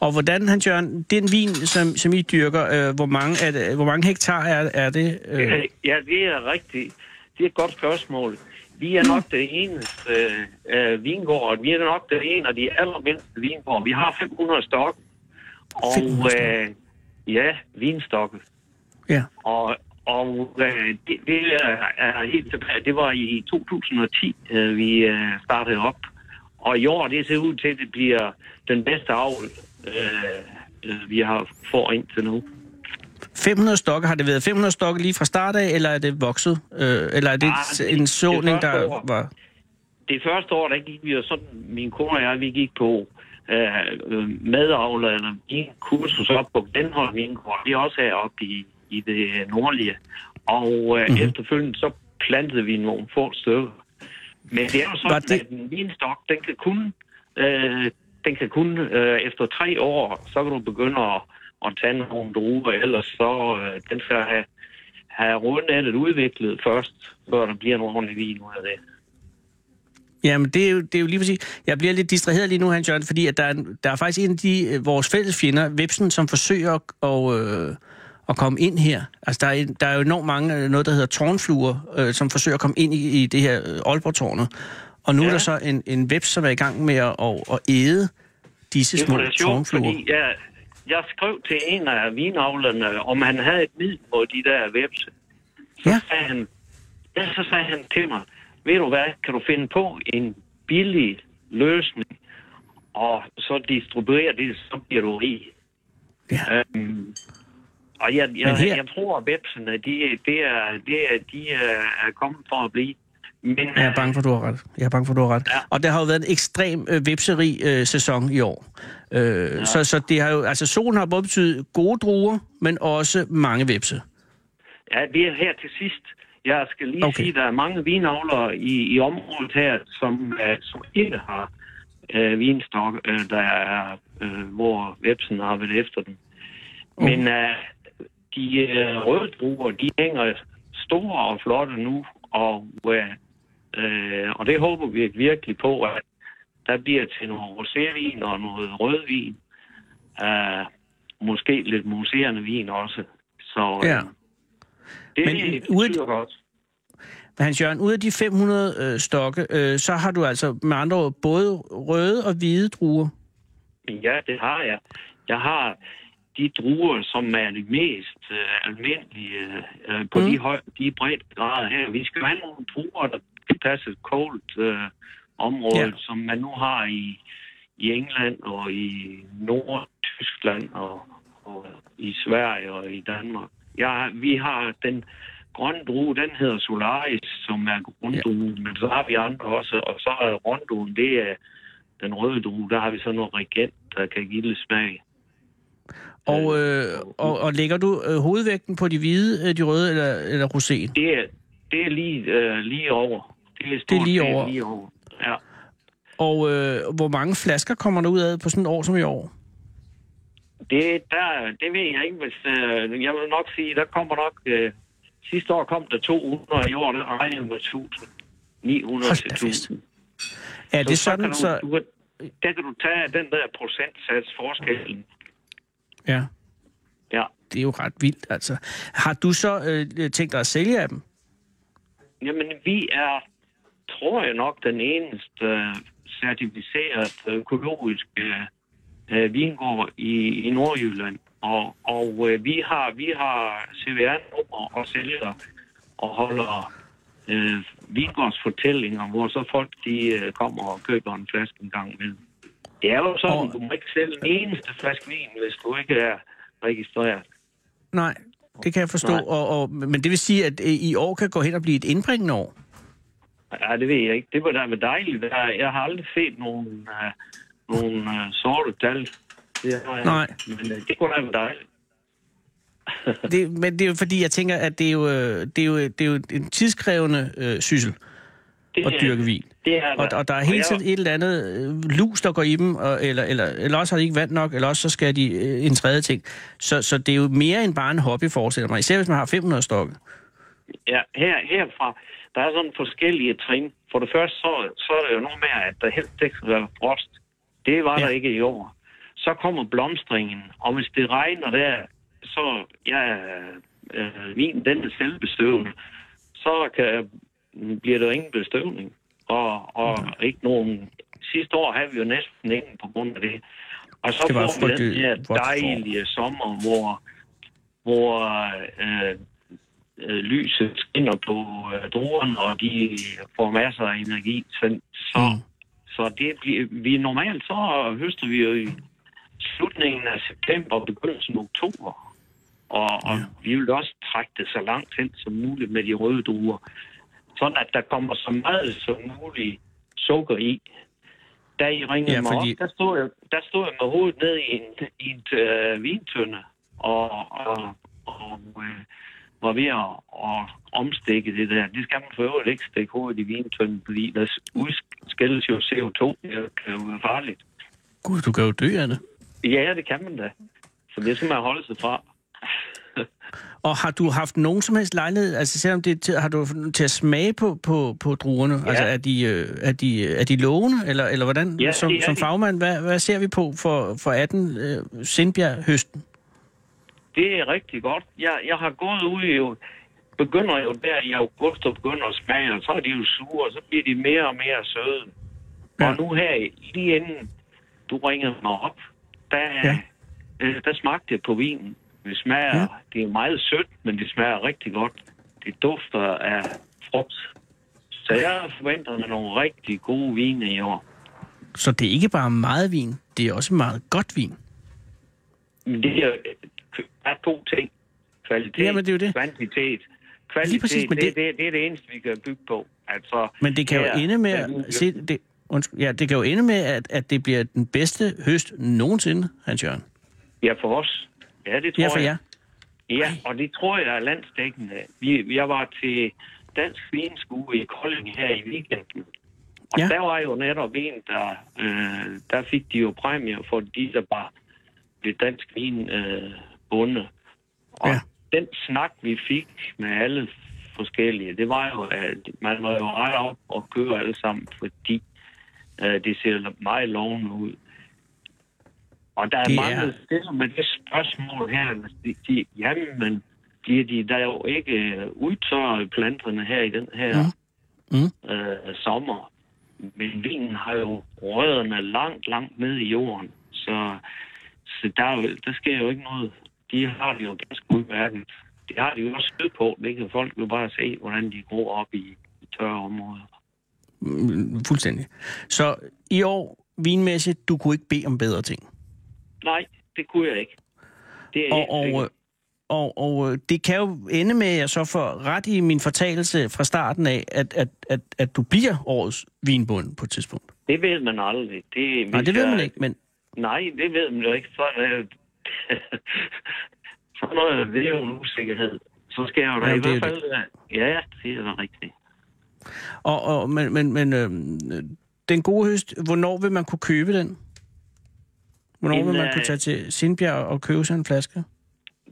Og hvordan, Hans Jørgen, den vin, som, som I dyrker, øh, hvor, mange er det, hvor mange hektar er, er det? Øh, Øh, Ja, det er rigtigt. Det er et godt spørgsmål. Vi er nok den eneste øh, øh, vingård, vi er nok den ene af de allermindste vingård. Vi har 500 stokke, og 500 stokke. øh, ja, vinstokke. ja. Og, og øh, det, det er, er helt tilbage. Det var i 2010, øh, vi øh, startede op. Og i år, det ser ud til, at det bliver den bedste avl, øh, øh, vi har får indtil nu. 500 stokke, har det været 500 stokke lige fra start af, eller er det vokset? Øh, eller er det Ah, ah, det- en såning, det er første der år. var... det første år, der gik vi jo sådan, min kone og jeg, vi gik på øh, øh, madavler, eller vi gik kursus op på Glenholm Vingård. Det er også heroppe i, i det nordlige. Og Mhm. øh, mm-hmm. efterfølgende så plantede vi nogle få stykker. Men det er jo Var sådan, det- det... at en vinstok, den kan kun, øh, den kan kun øh, efter tre år, så kan du begynde at, at tage nogle druer, ellers så øh, den skal have, have rundet udviklet først, før der bliver en ordentlig vin ud af det. Jamen, det er, jo, det er jo lige præcis... Jeg bliver lidt distraheret lige nu, Hans Jørgen, fordi at der, er, en- der er faktisk en af de, øh, vores fælles fjender, Vipsen, som forsøger at, og, øh, at komme ind her. Altså, der er, en- der er jo enormt mange, øh, noget der hedder tårnfluer, øh, som forsøger at komme ind i, i det her øh, Aalborg-tårnet. Og nu ja. er Ja. der så en, en veps, som er i gang med at, at, at æde disse små Det var da sjovt, tårnfluer. Fordi jeg, jeg skrev til en af vinavlerne, om han havde et middel mod de der vepse. Så, Ja. ja. sagde han, ja, så sagde han til mig, ved du hvad, kan du finde på en billig løsning, og så distribuere det, så bliver du rig. Ja. Øhm, og jeg, jeg, her- her... jeg tror, at vepsene, de, de, er, de, er, de er er kommet for at blive. Men, Jeg er bange for, du har ret. Jeg er bange for, du har ret. Ja. Ja. Og der har jo været en ekstrem øh, vipserig øh, sæson i år. Øh, ja. Så, så det har jo, altså solen har både betydet gode druer, men også mange vipse. Ja, det er her til sidst. Jeg skal lige Okay. okay. sige, at der er mange vinavlere i, i området her, som, øh, som ikke har øh, vinstok, øh, der er, øh, hvor vepsen har været efter dem. Men øh, de øh, røde druer, de hænger store og flotte nu, og, øh, øh, og det håber vi virkelig på, at der bliver til noget rosévin og noget rødvin. Øh, måske lidt museerende vin også. Så øh, Ja. det Men Men, ude- betyder godt. Hans Jørgen, ud af de 500 øh, stokke, øh, så har du altså med andre ord både røde og hvide druer. Ja, det har jeg. Jeg har de druer, som er de mest øh, almindelige øh, på mm. de, høj, de breddegrader her. Vi skal have nogle druer, der tilpasser et koldt øh, område, Ja. ja. som man nu har i, i England og i Nordtyskland og, og i Sverige og i Danmark. Ja, vi har den grønne drue, den hedder Solaris, som er grunddruen, ja. men så har vi andre også, og så er ronduen, det er den røde drue, der har vi så noget regent, der kan give lidt smag. Og, øh, og, og lægger du øh, hovedvægten på de hvide, øh, de røde eller, eller roséen? Det er, det er lige, øh, lige over. Det er, stort, Det er lige set over. lige over. Ja. Og øh, hvor mange flasker kommer der ud af på sådan et år som i år? Det, der, det ved jeg ikke, hvis... Øh, jeg vil nok sige, der kommer nok... Øh, sidste år kom der 200, i år der regner jeg med 1000. 900 Hold til da fest. 1000. Er det kan sådan, du, så... Du, kan- der kan du tage den der procentsats forskellen. Ja, Ja. det er jo ret vildt, altså. Har du så øh, tænkt dig at sælge af dem? Jamen, vi er, tror jeg nok, den eneste øh, certificeret økologiske øh, vingård i, i Nordjylland. Og, og øh, vi har, vi har CVR-nummer og sælger og holder øh, vingårdsfortællinger, hvor så folk de øh, kommer og køber en flaske en gang imellem. Det er jo sådan, Og- du må ikke sælge den eneste flaske vin, hvis du ikke er registreret. Nej, det kan jeg forstå. Nej. Og, og, men det vil sige, at øh, i år kan gå hen og blive et indbringende år? Ja, det ved jeg ikke. Det var da med dejligt. Jeg jeg har aldrig set nogen, uh, nogen uh, sorte tal. Det har jeg. Nej. Men uh, det kunne da være dejligt. Det, men det er jo fordi, jeg tænker, at det er jo, øh, det er jo, det er jo en tidskrævende øh, syssel Det, at er- dyrke vin. Det er Og, og der er hele tiden jeg, et eller andet øh, lus, der går i dem, og, eller, eller, eller også har de ikke vand nok, eller også så skal de øh, en tredje ting. Så, så det er jo mere end bare en hobby, forestiller jeg mig. Især hvis man har 500 stokke. ja, her, herfra, der er sådan forskellige trin. For det første, så, så er det jo noget med, at der helst ikke skal være frost. Det var Ja. ja. der ikke i år. Så kommer blomstringen, og hvis det regner der, så ja, øh, vinen, den er selvbestøvende. så kan, bliver der ingen bestøvning. Og, og ikke nogen... Sidste år havde vi jo næsten ingen på grund af det. Og så Det var får vi den frygteligt her vådt dejlige sommer, hvor, hvor øh, øh, lyset skinner på øh, druerne, og de får masser af energi. Så, så, Mm. mm. så det bliver, vi normalt så høster vi jo i slutningen af september og begyndelsen af oktober. Og, og vi vil også trække det så langt hen som muligt med de røde druer. Sådan at der kommer så meget som muligt sukker i. Da I ringede Ja, fordi- ja, fordi... mig op, der stod, jeg, der stod jeg med hovedet ned i en, i en øh, vintønde og, og, og øh, var ved at, at omstikke det der. Det skal man for øvrigt ikke stikke hovedet i vintønden, fordi der udskilles jo CO2. Det kan jo være farligt. Gud, du kan jo dø af det. Ja, det kan man da. Så det skal man holde sig fra. Og har du haft nogen som helst lejlighed, altså selvom det er til, har du til at smage på, på, på druerne? Ja. Altså er de, øh, er, de, øh, er de lovende, eller, eller hvordan? Ja, som, det er som de. fagmand, hvad, hvad ser vi på for, for 18 øh, Sindbjerg høsten? Det er rigtig godt. Jeg, jeg har gået ud i jo, begynder jo der i august og begynder at smage, og så er de jo sure, og så bliver de mere og mere søde. Ja. Ja. Og nu her, lige inden du ringede mig op, der, Ja. ja. øh, der smagte jeg på vinen. Det smager, Ja. ja. det er meget sødt, men det smager rigtig godt. Det dufter af frugt. Så jeg forventer mig nogle rigtig gode vine i år. Så det er ikke bare meget vin, det er også meget godt vin. Men det er, der er to ting. Kvalitet, Jamen, det er jo det. kvantitet. Kvalitet, Lige præcis, men det, det- det, det, det er det eneste, vi kan bygge på. Altså, Men det kan jo her- ende med, Ja, at, se, det, undskyld, ja, det kan jo ende med at, at det bliver den bedste høst nogensinde, Hans Jørgen. Ja, for os. Ja, det tror Ja, for jeg. jer. Ja, og det tror jeg er landsdækkende. Vi, jeg var til Dansk Vinskue i Kolding her i weekenden. Og Ja. ja. der var jo netop en, der, øh, der fik de jo præmier for de, der bare blev dansk vin øh, bunde. Og Ja. ja. den snak, vi fik med alle forskellige, det var jo, at man var jo ret op og køre alle sammen, fordi øh, det ser meget lovende ud. Og der er Det mange, er- der stiller med det spørgsmål her, hvis de siger, jamen, men bliver de der jo ikke øh, udtørret planterne her i den her Mm. mm. Øh, sommer. Men vinen har jo rødderne langt, langt ned i jorden. Så Så der, er jo- der sker jo ikke noget. De har det jo ganske udmærket. Det har de jo også syd på. Det kan folk jo bare se, hvordan de gror op i, i tørre områder. Mm, Fuldstændig. Så i år, vinmæssigt, du kunne ikke bede om bedre ting. Nej, det kunne jeg ikke. Det er Og, helt og, øh, sikkert. og, og øh, det kan jo ende med, at jeg så får ret i min fortalelse fra starten af, at, at, at, at du bliver årets vinbund på et tidspunkt. det ved man aldrig. Det, Nej, hvis det ved jeg- man ikke, men Nej, det ved man jo ikke. Så, øh, så noget, det er jo en usikkerhed. Så skal jeg jo da Jamen, i det er hvert jo fald... øh, Ja, det er da rigtigt. Og, og, men men, men øh, den gode høst, hvornår vil man kunne købe den? Hvornår Jamen, vil man øh, kunne tage til Sindbjerg og købe sig en flaske?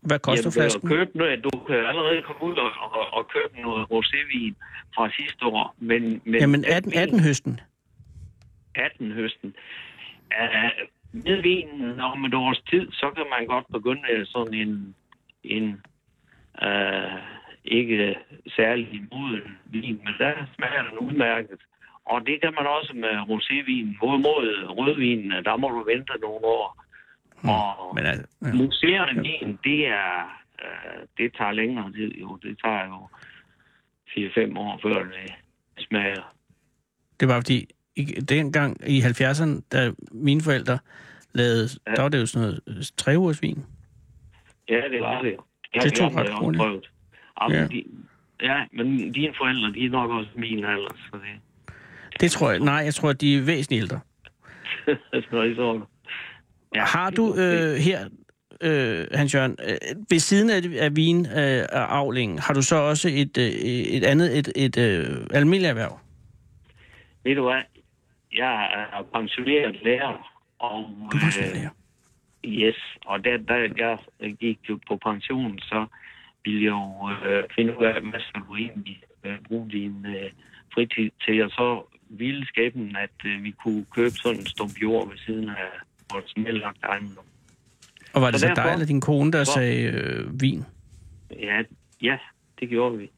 Hvad koster Jamen, det er jo flasken? at købe noget, du kan allerede komme ud og, og, og købe noget rosévin fra sidste år. Men, men Jamen 18, 18 høsten. 18 høsten. Uh, med vinen om et års tid, så kan man godt begynde øh, sådan en, en uh, ikke særlig moden vin, men der smager den udmærket. Og det kan man også med rosévin. Hvorimod rødvinen, øh, der må du vente nogle år. Og, Men altså, ja. Museerne min, det er... Øh, det tager længere tid jo. Det tager jo 4-5 år, før det smager. Det var fordi, i, dengang i 70'erne, da mine forældre lavede, der var det jo sådan noget øh, tre ugers vin. Ja, det var det jo. Ja, Det tog har ret jeg hurtigt. prøvet. Jamen, Ja. ja. De, ja, men dine forældre, de er nok også mine alder, så det... Det tror jeg, nej, jeg tror, de er væsentligt ældre. så er det så. Ja, Har du øh, her, øh, Hans Jørgen, øh, ved siden af, af vinavlingen, øh, og avlingen, har du så også et, øh, et andet, et, et øh, almindeligt erhverv? Ved du hvad? Jeg er pensioneret lærer, og... Du var sådan øh, lærer. Yes, og da, da jeg gik jo på pension, så ville jeg jo øh, finde ud af, hvad skal du egentlig øh, bruge din øh, fritid til, og så ville skæbnen, at øh, vi kunne købe sådan en stump jord ved siden af vores nedlagt ejendom. Og var det så så dig derfor- eller din kone, der Hvor- sagde øh, vin? Ja, ja, det gjorde vi.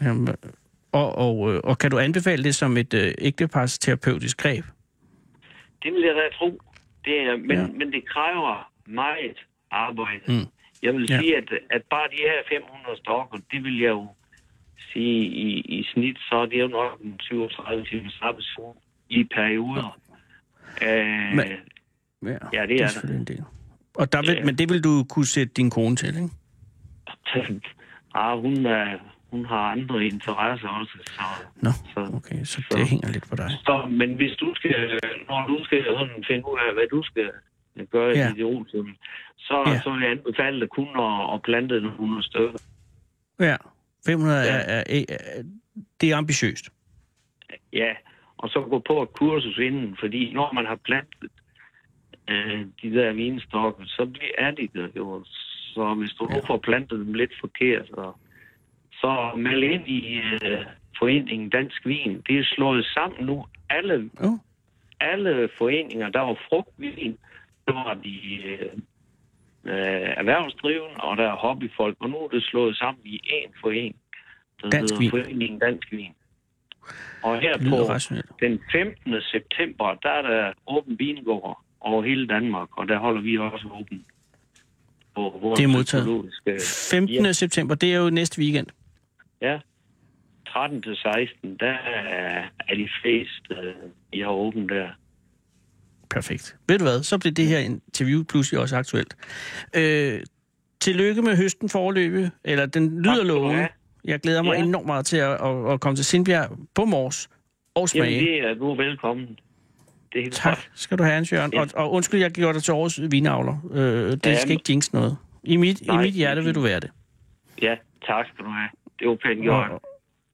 Jamen, og, og, øh, og kan du anbefale det som et øh, ægtepars terapeutisk greb? Det vil jeg da tro. Det er, men, Ja. ja. men det kræver meget arbejde. Mm. Mm. Jeg vil Ja. ja. sige, at, at bare de her 500 stokker, det vil jeg jo sige i, i snit, så er det jo nok en 37 timers arbejdsuge i perioder. Øh, Men- men, Ja, ja det er det er der. selvfølgelig en del. Og der vil, Ja. Men det vil du kunne sætte din kone til, ikke? ah, hun, er, hun har andre interesser også. Så, Nå, så, okay, så så- det hænger lidt på dig. så, men hvis du skal, når du skal sådan finde ud af, hvad du skal gøre Ja. ja. i dit otium, så, Ja. ja. så vil jeg anbefale dig kun at, at plante nogle 100 stykker. Ja, 500 Ja. Er, er, er, er, det er ambitiøst. Ja, og så gå på et kursus inden, fordi når man har plantet øh, de der vinstokke, så bliver er de der jo. Så hvis du nu får plantet dem lidt forkert, og, så meld ind i øh, foreningen Dansk Vin. Det er slået sammen nu. Alle, Oh. alle foreninger, der var frugtvin, der var de øh, øh, erhvervsdrivende, og der er hobbyfolk, og nu er det slået sammen i én forening. Der Dansk hedder Vin. Foreningen Dansk Vin. Og her Det lyder på rationelt. den 15. september, der er der åben vingård over hele Danmark, og der holder vi også åben. På vores Det er modtaget. økologiske- 15. Ja, september, det er jo næste weekend. ja. 13 til 16, der er er de fleste, øh, jeg har åbent der. Perfekt. Ved du hvad, så blev det her interview pludselig også aktuelt. Øh, tillykke med høsten forløbe, eller den lyder du lovende. have. Jeg glæder mig ja. Ja. enormt meget til at, at, at komme til Sindbjerg på mors og smage. Jamen, det er du er velkommen. Det er helt Tak godt. skal du have, Hans Jørgen. Ja. Og, og undskyld, jeg gjorde dig til årets vinavler. Øh, det Ja, skal men- ikke jinx noget. I mit, Nej, I mit hjerte det er vil du være det. Ja, tak skal du have. Det var pænt Og, gjort. og,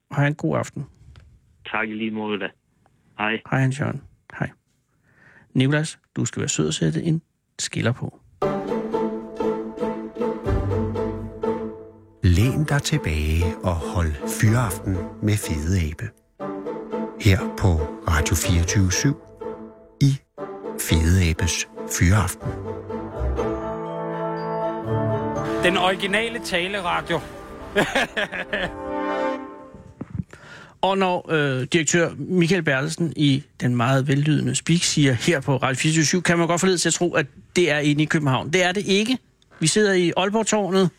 og have en god aften. Tak i lige måde da. Hej. Hej, Hans Jørgen. Hej. Nicolas, du skal være sød og sætte en skiller på. Læn dig tilbage og hold fyraften med Fede Abe. Her på Radio 24 i Fede Abes Fyraften. Den originale taleradio. Og når øh, direktør Michael Bertelsen i den meget vellydende speak siger her på Radio 24 kan man godt forlede til at tro, at det er inde i København. Det er det ikke. Vi sidder i Aalborg-tårnet.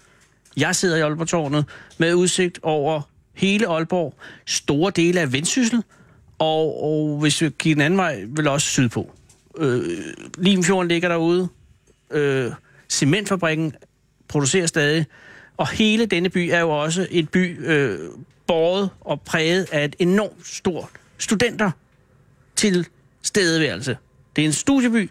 Jeg sidder i Aalborg-tårnet med udsigt over hele Aalborg, store dele af Vendsyssel, og, og hvis vi gik den anden vej, vel også sydpå. Øh, Limfjorden ligger derude. Øh, cementfabrikken producerer stadig. Og hele denne by er jo også en by øh, båret og præget af et enormt stort studenter til stedeværelse. Det er en studieby.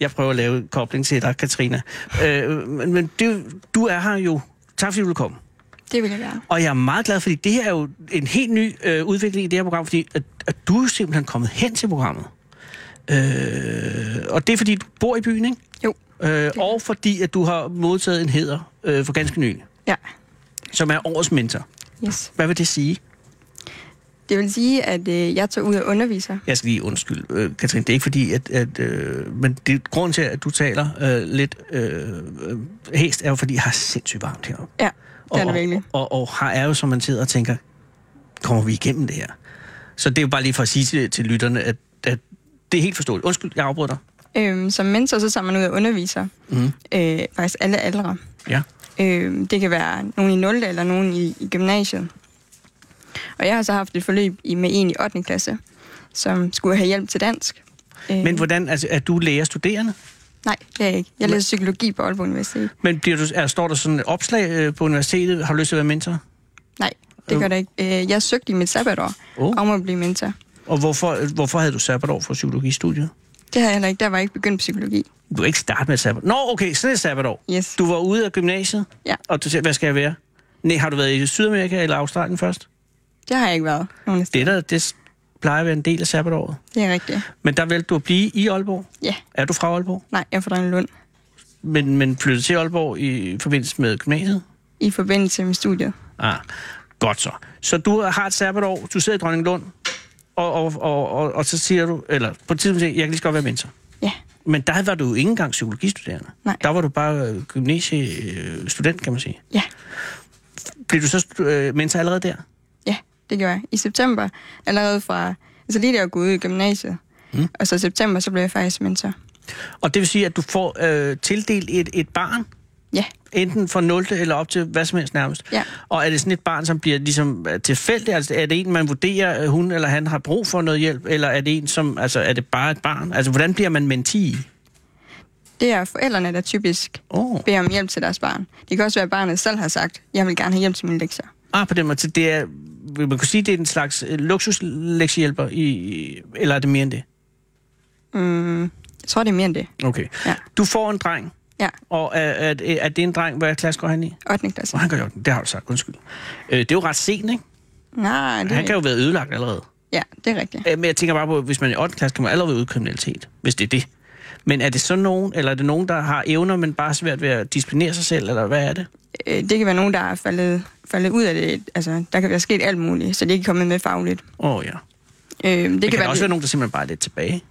Jeg prøver at lave en kobling til dig, Katrina. Øh, men men det, du er her jo. Tak fordi du vil komme. Det vil jeg være. Og jeg er meget glad, fordi det her er jo en helt ny øh, udvikling i det her program, fordi at, at du er simpelthen kommet hen til programmet. Øh, og det er, fordi du bor i byen, ikke? Jo. Øh, og fordi, at du har modtaget en heder øh, for ganske nylig, Ja. som er årets mentor. Yes. Hvad vil det sige? Det vil sige, at øh, jeg tager ud og underviser. Jeg skal lige undskylde, øh, Katrine. Det er ikke fordi, at... at øh, men det er grunden til, at du taler øh, lidt øh, øh, hæst, er jo fordi, jeg har sindssygt varmt heroppe. Ja, det er og, det virkelig. Og, og, og har er jo, som man sidder og tænker, kommer vi igennem det her? Så det er jo bare lige for at sige til, til lytterne, at, at det er helt forståeligt. Undskyld, jeg afbryder dig. Øhm, som mentor, så tager man ud og underviser. Mhm. Øh, faktisk alle aldre. Ja. Øh, det kan være nogen i 0. eller nogen i, i gymnasiet. Og jeg har så haft et forløb i, med en i 8. klasse, som skulle have hjælp til dansk. Øh, Men hvordan, altså, er du lærer studerende? Nej, det er jeg ikke. Jeg læser psykologi på Aalborg Universitet. Men bliver du, er, står der sådan et opslag øh, på universitetet, har du lyst til at være mentor? Nej, det gør det ikke. Øh, jeg søgte i mit sabbatår Oh. oh. om at blive mentor. Og hvorfor, hvorfor havde du sabbatår for psykologistudiet? Det havde jeg heller ikke. Der var jeg ikke begyndt psykologi. Du kan ikke starte med et sabbat. Nå, okay, sådan et sabbatår. Yes. Du var ude af gymnasiet, Ja. og du sagde, hvad skal jeg være? Nej, har du været i Sydamerika eller Australien først? Det har jeg ikke været nogen af Det steder. der, det s- plejer at være en del af sabbatåret. Det er rigtigt. Men der valgte du at blive i Aalborg. Ja, Er du fra Aalborg? nej, jeg får en lund Men, men flyttede til Aalborg i forbindelse med gymnasiet? i forbindelse med studiet. Ah, godt så. Så du har et sabbatår, du sidder i Dronninglund, og, og, og, og, og så siger du, eller på et tidspunkt siger, jeg kan lige så godt være mentor. Ja, Men der var du jo ikke engang psykologistuderende. Nej. Der var du bare øh, gymnasiestudent, kan man sige. ja, Blev du så stu- øh, mentor allerede der? ja, det gjorde jeg. I september, allerede fra... Altså lige da jeg var gået ud i gymnasiet. Mm. Og så i september, så blev jeg faktisk mentor. Og det vil sige, at du får øh, tildelt et, et barn, Ja, enten fra 0. eller op til hvad som helst nærmest. Ja. Og er det sådan et barn, som bliver ligesom øh, tilfældigt? Altså, er det en, man vurderer, øh, hun eller han har brug for noget hjælp? Eller er det en, som... Altså, er det bare et barn? Altså, hvordan bliver man menti? det er forældrene, der typisk Åh. beder om hjælp til deres barn. Det kan også være, at barnet selv har sagt, jeg vil gerne have hjælp til mine lektier. Ah, på den måde. Så Det er, vil man kunne sige, det er en slags øh, luksuslektiehjælper, i, eller er det mere end det? Mm, jeg tror, det er mere end det. Okay. Ja. Du får en dreng, Ja, og er, er, er det en dreng, hvad klasse går han i? 8. klasse. Og han gør jo, det har du sagt, undskyld. Øh, det er jo ret sent, ikke? Nej, det er Han kan ikke. jo være ødelagt allerede. Ja, det er rigtigt. Øh, men jeg tænker bare på, hvis man er i 8. klasse, kan man allerede være ude i kriminalitet, hvis det er det. Men er det så nogen, eller er det nogen, der har evner, men bare svært ved at disciplinere sig selv, eller hvad er det? Øh, det kan være nogen, der er faldet, faldet ud af det. Altså, der kan være sket alt muligt, så det kan komme med fagligt. Åh oh, ja. Det, Øh, det, det kan, kan også være det. nogen, der simpelthen bare er lidt tilbage.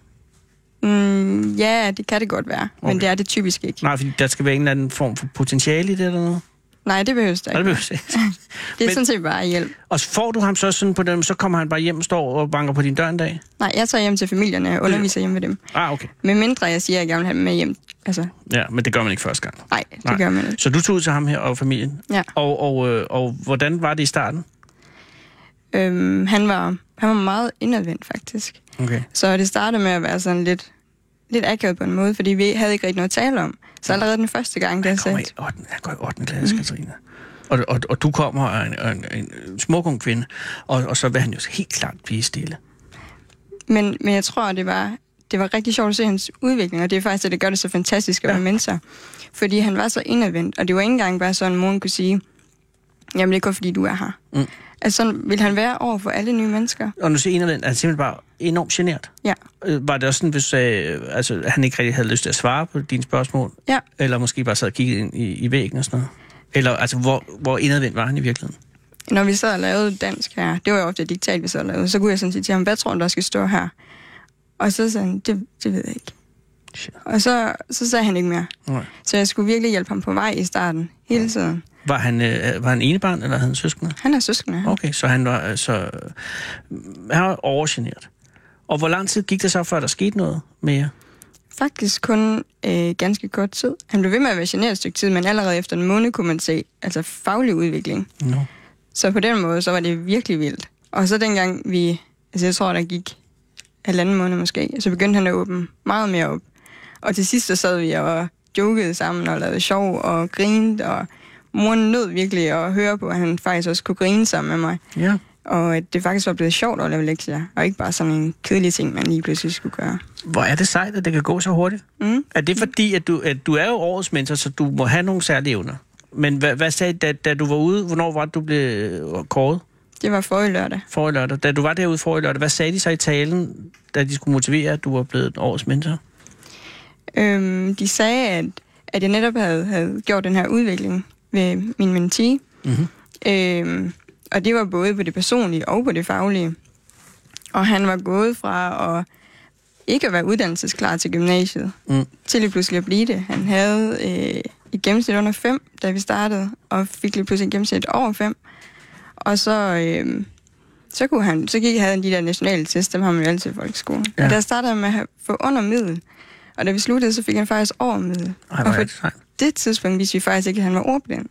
Mm, ja, det kan det godt være, okay. Okay. men det er det typisk ikke. Nej, fordi der skal være en eller anden form for potentiale i det eller noget. Nej, det behøves der Nej, det ikke. behøver jeg ikke. Det er men- sådan set bare hjælp. Og så får du ham så sådan på den, så kommer han bare hjem og står og banker på din dør en dag? Nej, jeg tager hjem til familierne og underviser hjemme ved dem. Ah, okay. Med mindre jeg siger, at jeg gerne vil have dem med hjem. Altså, Ja, men det gør man ikke første gang. nej, det nej. gør man ikke. Så du tog ud til ham her og familien? Ja. Og, og, øh, og hvordan var det i starten? Øhm, han, var, han var meget indadvendt, faktisk. Okay. Så det startede med at være sådan lidt, lidt akavet på en måde, fordi vi havde ikke rigtig noget at tale om. Så allerede den første gang, der jeg Kommer sagde, i 8, jeg går i 8. klasse, mm. Katrina. Og, og, og du kommer og er en, og en, en smuk ung kvinde, og, og så vil han jo helt klart blive stille. Men, men jeg tror, det var, det var rigtig sjovt at se hans udvikling, og det er faktisk det, der gør det så fantastisk at være mentor. Fordi han var så indadvendt, og det var ikke engang bare sådan, at moren kunne sige, jamen det er kun fordi, du er her. Mm. Altså sådan vil han være over for alle nye mennesker. Og nu ser en af den, er simpelthen bare enormt genert. Ja, Øh, Var det også sådan, hvis du sagde, øh, altså, han ikke rigtig havde lyst til at svare på dine spørgsmål? ja. Eller måske bare sad og kiggede ind i, i væggen og sådan noget? Eller altså, hvor, hvor indadvendt var han i virkeligheden? Når vi sad og lavede dansk her, det var jo ofte et diktat, vi sad og lavede, så kunne jeg sådan sige til ham, hvad tror du, der skal stå her? Og så sagde han, det, det ved jeg ikke. Shit. Og så, så sagde han ikke mere. Nej. Så jeg skulle virkelig hjælpe ham på vej i starten, hele tiden. Var han, øh, var han enebarn, eller havde han søskende? Han er søskende. ja. Okay, så han var, øh, så, øh, han var overgeneret. Og hvor lang tid gik det så, før der skete noget med jer? Faktisk kun øh, ganske kort tid. Han blev ved med at være generet et stykke tid, men allerede efter en måned kunne man se altså faglig udvikling. No. Så på den måde, så var det virkelig vildt. Og så dengang vi, altså jeg tror, der gik halvanden måned måske, så begyndte han at åbne meget mere op. Og til sidst så sad vi og jokede sammen og lavede sjov og grinede, og moren nød virkelig at høre på, at han faktisk også kunne grine sammen med mig. Ja. Og at det faktisk var blevet sjovt at lave lektier, og ikke bare sådan en kedelig ting, man lige pludselig skulle gøre. Hvor er det sejt, at det kan gå så hurtigt? Mm. Er det fordi, at du, at du er jo årets mentor, så du må have nogle særlige evner? Men hvad, hvad sagde, da, da du var ude, hvornår var det, du blev øh, kåret Det var forrige lørdag. for i lørdag? Da du var derude for i lørdag, hvad sagde de så i talen, da de skulle motivere, at du var blevet årets mentor? Øhm, de sagde, at, at jeg netop havde, havde gjort den her udvikling ved min mentee. Mhm. Øhm, og det var både på det personlige og på det faglige. Og han var gået fra at ikke at være uddannelsesklar til gymnasiet, Mm. til lige pludselig at blive det. Han havde øh, et gennemsnit under 5, da vi startede, og fik lige pludselig et gennemsnit over 5. Og så, øh, så, kunne han, så gik, havde han de der nationale test, dem har man jo altid i folkeskolen. Ja. Ja. Og der startede han med at have- få under middel, og da vi sluttede, så fik han faktisk over middel. Ej, og hvor er på det sejt. det tidspunkt vidste vi faktisk ikke, at han var ordblind.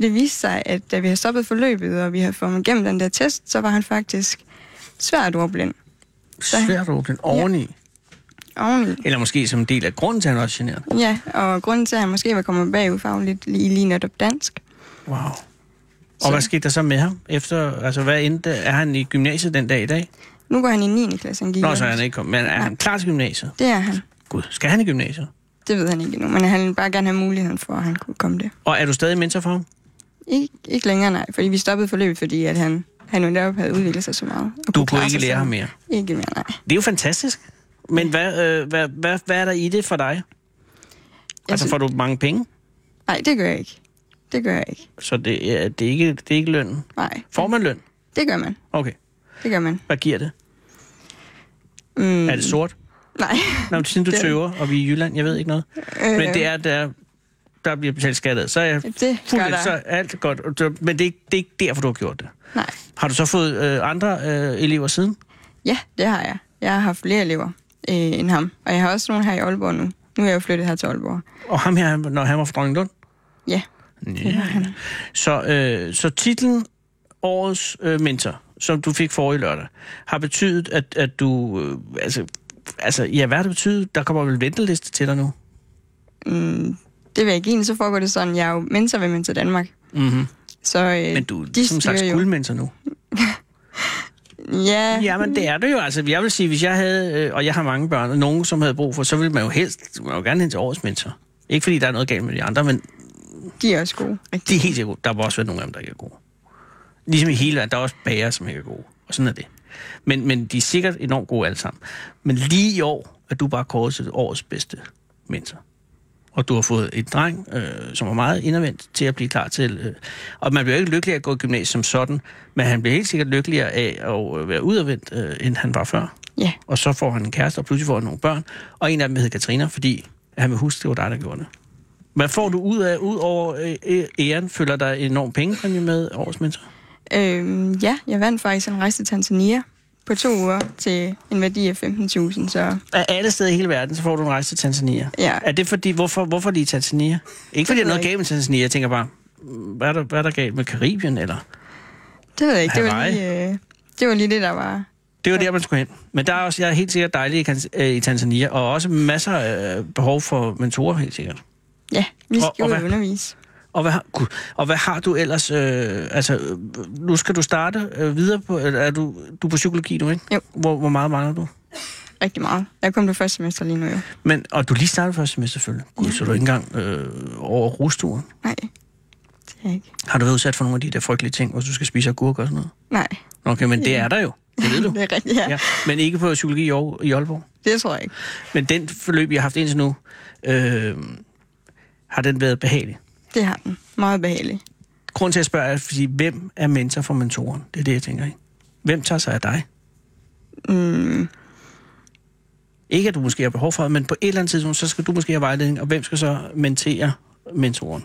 Det viste sig, at da vi havde stoppet forløbet, og vi havde fået ham igennem den der test, så var han faktisk svært ordblind da- Svært åbent oveni. Ja. oveni. Eller måske som en del af grunden til, at han også generet. Ja, og grunden til, at han måske var kommet bagud fagligt lige, lige netop dansk, Wow. Og så. hvad skete der så med ham? Efter, altså, hvad endte, er han i gymnasiet den dag i dag? nu går han i 9. klasse, han gik Nå, i. så er han ikke kommet. Men er han klar til gymnasiet? Det er han. Gud, skal han i gymnasiet? Det ved han ikke endnu, men han vil bare gerne have muligheden for, at han kunne komme det. Og er du stadig mentor for ham? Ik- ikke længere, nej, fordi vi stoppede forløbet, fordi at han, han jo netop havde udviklet sig så meget. og Du kunne klare ikke sig lære selv. ham mere. Ikke mere, nej. Det er jo fantastisk. Men hvad, øh, hvad, hvad, hvad er der i det for dig? Altså synes- får du mange penge, Nej, det gør jeg ikke. Det gør jeg ikke. så det, er, det, er, ikke, det er ikke lønnen. Nej, Får man løn? det gør man. Okay. Det gør man. Hvad giver det? Mm, Er det sort? Nej. Nå, men siden du Det- tøver, og vi er i Jylland, jeg ved ikke noget. Øh, Men det er, der, der bliver betalt skat af. Så er jeg Det fuld, gør der. så er alt godt. Og det- Men det er, ikke, det er ikke derfor, du har gjort det. Øh, Nej. Har du så fået øh, andre øh, elever siden? Ja, det har jeg. Jeg har haft flere elever øh, end ham. Og jeg har også nogen her i Aalborg nu. Nu er jeg jo flyttet her til Aalborg. Og ham her, han- når han var fra Dronning Lund? Ja, Ja. Så, øh, så titlen Årets øh, Mentor, som du fik forrige lørdag, har betydet, at, at du... Øh, altså, altså, ja, hvad har det betydet? Der kommer vel venteliste til dig nu? mm, det vil jeg give en, så foregår det sådan. Jeg er jo mentor ved Mentor Danmark. Mm-hmm. Så øh, Men du er ligesom de som sagt styrer jo. guldmentor nu. Ja, ja. Jamen, det er det jo. Altså, jeg vil sige, hvis jeg havde, øh, og jeg har mange børn, og nogen, som havde brug for, så ville man jo helst, man vil jo gerne hen til årets mentor. Ikke fordi der er noget galt med de andre, men de er også gode. de er helt sikkert gode. Der er også været nogle af dem, der ikke er gode. Ligesom i hele verden, der er også bager, som ikke er gode. Og sådan er det. Men, men de er sikkert enormt gode alle sammen. Men lige i år er du bare kåret til årets bedste mentor. Og du har fået et dreng, øh, som er meget indadvendt til at blive klar til. Øh. Og man bliver jo ikke lykkelig af at gå i gymnasiet som sådan, men han bliver helt sikkert lykkeligere af at øh, være udadvendt, øh, end han var før. Ja, Og så får han en kæreste, og pludselig får han nogle børn. Og en af dem hedder Katrina, fordi han vil huske, det var dig, der gjorde det. Hvad får du ud af, ud over øh, øh, æren? Følger der enorm pengepræmie med årets mentor? øhm, ja jeg vandt faktisk en rejse til Tanzania på to uger til en værdi af 15.000, så Af alle steder i hele verden, så får du en rejse til Tanzania. ja. Er det fordi, hvorfor, hvorfor lige Tanzania? Ikke fordi der er noget ikke. galt med Tanzania, jeg tænker bare, mm, hvad er der, hvad er der galt med Karibien, eller? Det ved jeg ikke. Det var, Hawaii? lige, øh, det var lige det, der var. Det var der, man skulle hen. Men der er også, jeg er helt sikkert dejlig i, Kan- øh, i Tanzania, og også masser af øh, behov for mentorer, helt sikkert. Ja, vi Og- skal og ud hvad? og undervise. Og hvad, har, gud, og hvad har du ellers? Øh, altså, øh, nu skal du starte øh, videre på... Eller er du, du er på psykologi nu, ikke? Jo. Hvor, hvor meget mangler du? Rigtig meget. Jeg kom på første semester lige nu, jo. Men, og du er lige startet første semester, selvfølgelig. Gud, så er du ikke engang øh, over rosturen. Nej, det er jeg ikke. Har du været udsat for nogle af de der frygtelige ting, hvor du skal spise agurk og sådan noget? Nej, Nå, Okay, men det er der jo. Det ved du. det er rigtigt, ja. Ja, ja. men ikke på psykologi i Aar- i Aalborg. Det tror jeg ikke. Men den forløb, jeg har haft indtil nu, øh, har den været behagelig? Det har den. Meget behagelig. Grunden til at spørge er, fordi, hvem er mentor for mentoren? Det er det, jeg tænker, ikke? Hvem tager sig af dig? Mm, Ikke at du måske har behov for det, men på et eller andet tidspunkt, så skal du måske have vejledning, og hvem skal så mentere mentoren?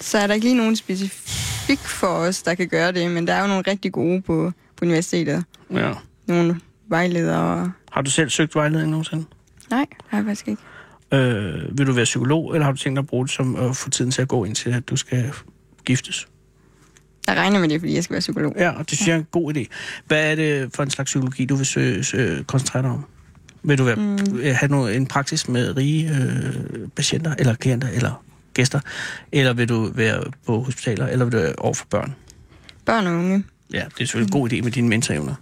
så er der ikke lige nogen specifik for os, der kan gøre det, men der er jo nogle rigtig gode på, på universitetet. Ja. Nogle vejledere. og- Har du selv søgt vejledning nogensinde? Nej, har jeg faktisk ikke. Øh, vil du være psykolog, eller har du tænkt dig at bruge det som at få tiden til at gå indtil, at du skal giftes? Jeg regner med det, fordi jeg skal være psykolog. Ja, og det synes jeg er en god idé. Hvad er det for en slags psykologi, du vil søge, søge, koncentrere dig om? Vil du være, mm. have noget, en praksis med rige øh, patienter, eller klienter, eller gæster? Eller vil du være på hospitaler, eller vil du være over for børn? Børn og unge, Ja, det er selvfølgelig en god idé med dine mentorevner.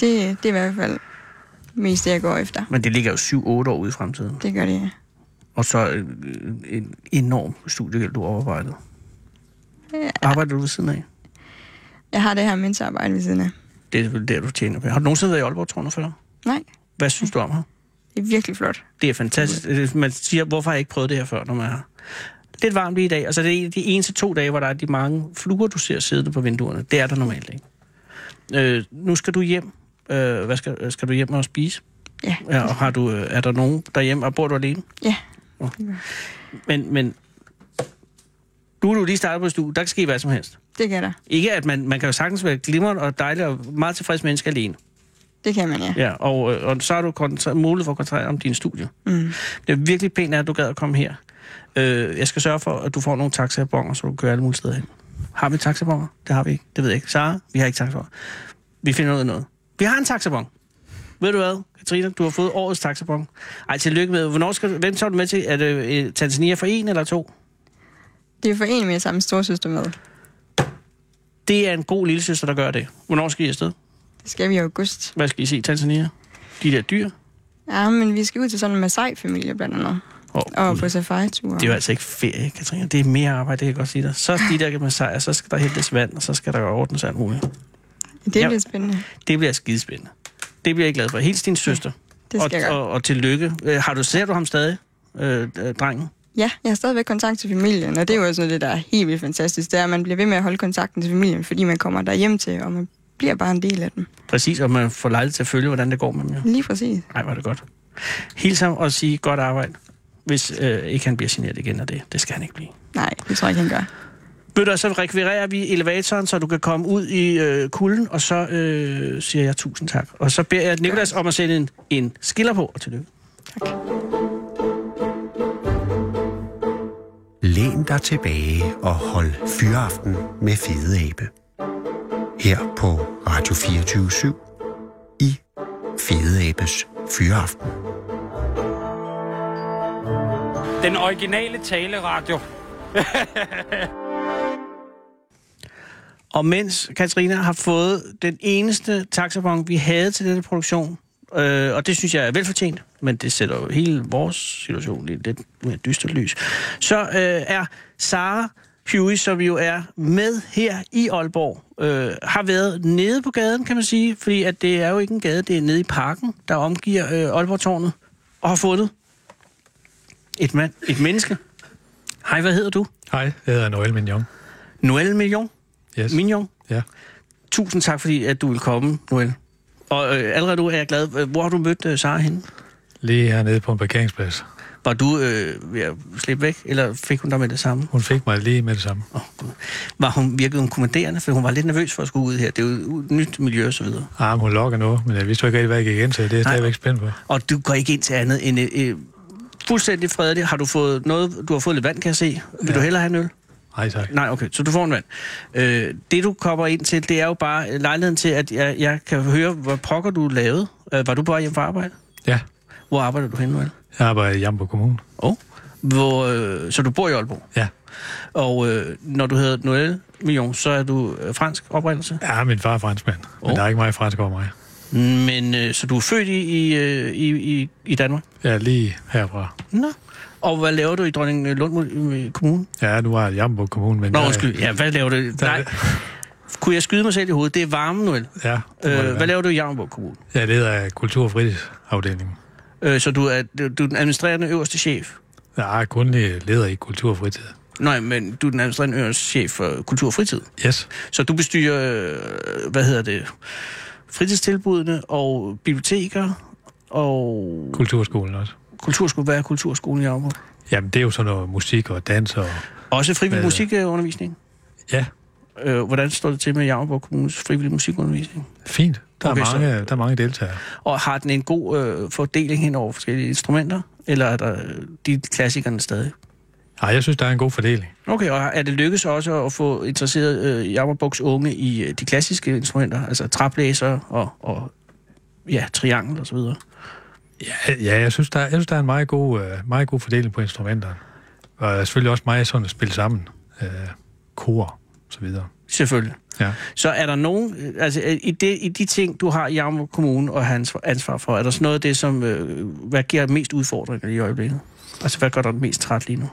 det, det er i hvert fald mest det, jeg går efter. Men det ligger jo 7-8 år ude i fremtiden. Det gør det. Og så øh, en enorm studiegæld, du har overvejdet. Ja. Arbejder du ved siden af? Jeg har det her mentorarbejde ved siden af. Det er selvfølgelig der, du tjener penge. Har du nogensinde været i Aalborg, tror du, før? Nej, Hvad synes du om her? det er virkelig flot. Det er fantastisk. Øh, Man siger, hvorfor har jeg ikke prøvet det her før, når man er her? Lidt varmt lige i dag. Altså, det er en- de eneste to dage, hvor der er de mange fluer, du ser siddende på vinduerne. Det er der normalt ikke. Øh, nu skal du hjem. Øh, hvad skal, skal du hjem og spise? Ja, Ja, og har du, øh, er der nogen derhjemme, og bor du alene? ja. Men, men nu er du lige startet på et studie. Der kan ske hvad som helst. det kan der. Ikke at man, man kan jo sagtens være glimrende og dejlig og meget tilfreds menneske alene. Det kan man, ja. Ja, og, øh, og så har du koncentre- mulighed for at koncentrere dig om dine studier. Mm. Det er virkelig pænt, af, at du gad at komme her. Øh, jeg skal sørge for, at du får nogle taxabonger, så du kan køre alle mulige steder hen. Har vi taxabonger? Det har vi ikke. Det ved jeg ikke. Sara, vi har ikke taxabonger. Vi finder ud af noget. Vi har en taxabong. Ved du hvad, Katrine? Du har fået årets taxabong. Ej, tillykke med. Hvornår skal, hvem tager du med til? Er det øh, Tanzania for en eller to? Det er for en med samme storsøster med. Det er en god lille søster, der gør det. Hvornår skal I afsted? Det skal vi i august. Hvad skal I se i Tanzania? De der dyr? Ja, men vi skal ud til sådan en Masai-familie blandt andet. Åh, Og på safari-tur. Det er jo altså ikke ferie, Katrine. Det er mere arbejde, det kan jeg godt sige dig. Så de der med sejr, så skal der hentes vand, og så skal der ordnes alt muligt. Det er Ja. lidt spændende. Det bliver skidespændende. Det bliver jeg glad for. Hils din søster. Det skal jeg og, gøre. og, og tillykke. Øh, har du, ser du ham stadig, øh, øh, drengen? Ja, jeg har stadigvæk kontakt til familien, og det er jo også noget, af det, der er helt vildt fantastisk. Det er, at man bliver ved med at holde kontakten til familien, fordi man kommer der hjem til, og man bliver bare en del af dem. Præcis, og man får lejlighed til at følge, hvordan det går med dem. Jo. Lige præcis. Ej, var det godt. Hils ham og sige godt arbejde, hvis øh, ikke han bliver generet igen af det. Det skal han ikke blive. Nej, det tror jeg ikke, han gør. Ved du, så rekvirerer vi elevatoren, så du kan komme ud i øh, kulden, og så øh, siger jeg tusind tak. Og så beder jeg Nikolas om at sætte en, en skiller på, og tillykke. Læn dig tilbage og hold fyraften med Fede Abe. Her på Radio 24 i Fede Abes Fyraften. Den originale taleradio. Og mens Katrina har fået den eneste taxabon, vi havde til denne produktion, øh, og det synes jeg er velfortjent, men det sætter jo hele vores situation i et lidt mere dystert lys, så øh, er Sara Huey, som jo er med her i Aalborg, øh, har været nede på gaden, kan man sige, fordi at det er jo ikke en gade, det er nede i parken, der omgiver øh, Aalborg-tårnet, og har fundet et, mand, et menneske. Hej, hvad hedder du? Hej, jeg hedder Noel Mignon. Noel Million? Yes. Mignon? Ja. Tusind tak, fordi at du vil komme, Noel. Og øh, allerede nu er jeg glad. Øh, Hvor har du mødt øh, Sara henne? Lige hernede på en parkeringsplads. Var du øh, ved at slippe væk, eller fik hun dig med det samme? Hun fik mig lige med det samme. Oh, Gud. Var hun virkede hun kommanderende, for hun var lidt nervøs for at skulle ud her. Det er jo et nyt miljø og så videre. Ah, men hun lokker noget, men jeg vidste jo ikke rigtig, hvad jeg gik ind til. Det er jeg Nej. stadigvæk spændt på. Og du går ikke ind til andet end øh, øh, fuldstændig fredeligt. Har du fået noget? Du har fået lidt vand, kan jeg se. Vil ja. Ja. du hellere have en øl? Nej, tak. Nej, okay, så du får en vand. Øh, det, du kommer ind til, det er jo bare øh, lejligheden til, at jeg, jeg kan høre, hvor pokker du lavede. Øh, var du på vej hjem fra arbejde? Ja, Hvor arbejder du henne, Noel? jeg arbejder i Jambo Kommune. Oh. Hvor, øh, så du bor i Aalborg, Ja. og øh, når du hedder Noël Million, så er du øh, fransk oprindelse. Ja, min far er franskmand, oh. Åh. men der er ikke meget fransk over mig. Men øh, så du er født i, i, øh, i, i, i Danmark. Jeg er lige herfra. Nå. Og hvad laver du i Dronning Lund øh, Kommune? Ja, nu er jeg i Jambo Kommune, men... Nå, jeg- undskyld. Ja, hvad laver du? Der, Nej. Kunne jeg skyde mig selv i hovedet? Det er varme, Noël. Ja, det må det Øh, hvad være. laver du i Jarmborg Kommune? Jeg leder af Kultur- og Fritidsafdelingen. Øh, så du er, du du er den administrerende øverste chef. Jeg er kun leder i Kultur- og Fritid. Nej, men du er den administrerende øverste chef for kultur og fritid. Yes, Så du bestyrer, øh, hvad hedder det, fritidstilbudene og biblioteker og Kulturskolen også. kulturskole. Hvad er kulturskolen i Aalborg? Jamen, det er jo sådan noget musik og dans og Også frivillig Hvad- musikundervisning. Ja, Øh, hvordan står det til med Jammerborg Kommunes frivillige musikundervisning? fint. Der, Okay, er, så- mange, der er mange deltagere. Og har den en god øh, fordeling hen over forskellige instrumenter? Eller er der øh, de klassikerne stadig? Ej, jeg synes, der er en god fordeling. Okay, og er det lykkedes også at få interesseret øh, Jammerbugs unge i øh, de klassiske instrumenter? Altså traplæser og, og ja, triangel og så videre. Ja, ja jeg, synes, der er, jeg synes, der er en meget god, øh, meget god fordeling på instrumenterne. Og selvfølgelig også meget sådan at spille sammen. Øh, kor og så videre. Selvfølgelig. Ja. Så er der nogen, øh, altså øh, i, det, i de ting, du har i Jammer Kommune og hans ansvar for, er der sådan noget af det, som, øh, hvad giver mest udfordringer i øjeblikket? Altså, hvad gør dig mest træt lige nu?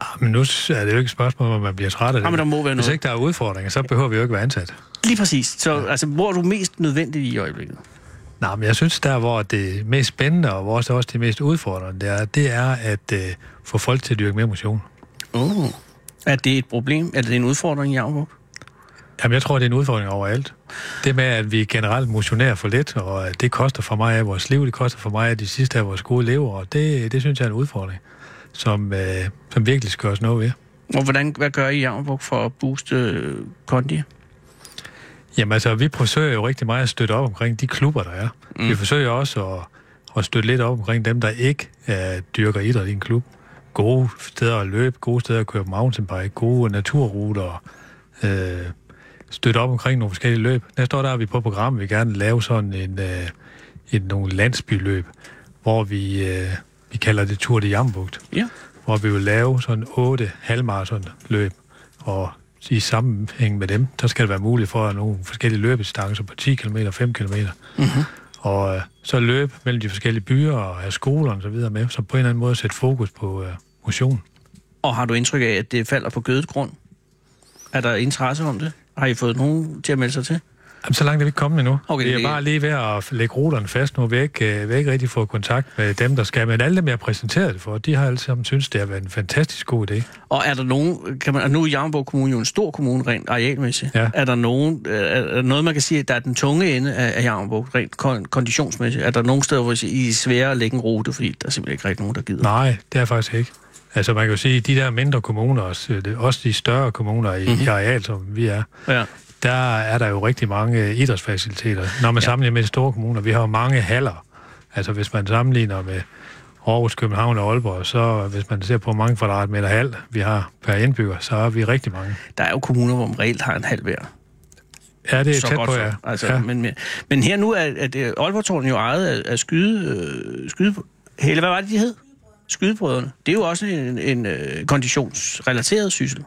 Ah, men nu er det jo ikke et spørgsmål, om man bliver træt af det. Jamen, Ah, der må være Hvis noget. ikke der er udfordringer, så behøver vi jo ikke være ansat. Lige præcis. Så ja. altså, hvor er du mest nødvendig i øjeblikket? Nej, men jeg synes, der hvor det er mest spændende, og hvor også det også er det mest udfordrende, det er, det er at øh, få folk til at dyrke mere motion. Oh. Er det et problem? Er det en udfordring i Jammerburg? Jamen, jeg tror, det er en udfordring overalt. Det med, at vi generelt motionerer for lidt, og at det koster for meget af vores liv, det koster for meget af de sidste af vores gode lever, og det, det synes jeg er en udfordring, som, øh, som virkelig skal gøres noget ved. Og hvordan, hvad gør I i Jammerburg for at booste øh, kondi? Jamen altså, vi forsøger jo rigtig meget at støtte op omkring de klubber, der er. Mm. Vi forsøger også at, at støtte lidt op omkring dem, der ikke uh, dyrker idræt i en klub. Gode steder at løbe, gode steder at køre mountainbike, gode naturruter. Uh, støtte op omkring nogle forskellige løb. Næste år der er vi på programmet, vi gerne vil lave sådan en, uh, en nogle landsbyløb, hvor vi, uh, vi kalder det Tour de Jambugt Ja. hvor vi vil lave sådan otte halvmarathonløb, og i sammenhæng med dem, der skal det være muligt for nogle forskellige løbedistancer på 10 km og 5 km. Mm-hmm. Og øh, så løbe mellem de forskellige byer og have skolerne og så videre med, så på en eller anden måde sætte fokus på øh, motion. Og har du indtryk af, at det falder på gødet grund? Er der interesse om det? Har I fået nogen til at melde sig til? Jamen, så langt er vi ikke kommet endnu. Okay, vi er det- bare lige ved at lægge ruterne fast nu. Vi har ikke, øh, vi har ikke rigtig fået kontakt med dem, der skal. Men alle dem, jeg har præsenteret det for, de har alle sammen syntes, det har været en fantastisk god idé. Og er der nogen, kan man, og nu er Jammerborg Kommune jo en stor kommune rent arealmæssigt. Ja. Er der nogen, øh, er er der noget, man kan sige, at der er den tunge ende af, af Jammerborg rent kon- konditionsmæssigt? Er der nogen steder, hvor I siger, I er svære at lægge en rute, fordi der er simpelthen ikke rigtig nogen, der gider? Nej, det er faktisk ikke. Altså man kan jo sige, at de der mindre kommuner, også øh, det- også de større kommuner i, mm-hmm. i areal, som vi er, Ja. der er der jo rigtig mange øh, idrætsfaciliteter, når man ja. sammenligner med de store kommuner. Vi har jo mange haller. Altså hvis man sammenligner med Aarhus, København og Aalborg, så hvis man ser på hvor mange kvadratmeter hal, vi har per indbygger, så er vi rigtig mange. Der er jo kommuner, hvor man reelt har en halv hver. Ja, det er så tæt godt på, for. ja. Altså, ja. ja. Men, men- men her nu er, er det, Aalborg-tårnet jo ejet af, af skyde, øh, skyde... Hele, hvad var det, de hed? Skydebrødrene. Det er jo også en, en øh, konditionsrelateret syssel.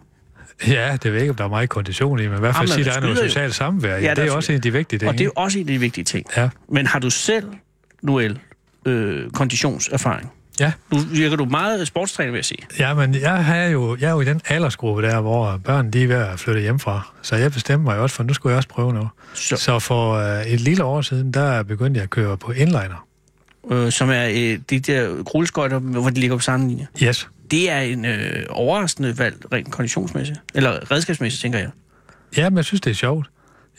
ja, det ved jeg ikke, om der er meget kondition i, men i Jamen, hvert fald sige, der der er noget skyder jo. socialt samvær. Ja, Ja, der det er er også en af de vigtige ting. Og det er jo også en af de vigtige ting. Ja. Men har du selv, Noel, øh, konditionserfaring? ja. Du virker du meget sportstræner, vil jeg sige. Ja, men jeg, er jo, jeg er jo i den aldersgruppe der, hvor børn de er ved at flytte hjemmefra. Så jeg bestemte mig jo også for, at nu skulle jeg også prøve noget. Så. Så, så for øh, et lille år siden, der begyndte jeg at køre på inliner. Øh, som er øh, de der grulleskøjter, hvor de ligger på samme linje. Yes. Det er en øh, overraskende valg, rent konditionsmæssigt. Eller redskabsmæssigt, tænker jeg. Ja, men jeg synes, det er sjovt.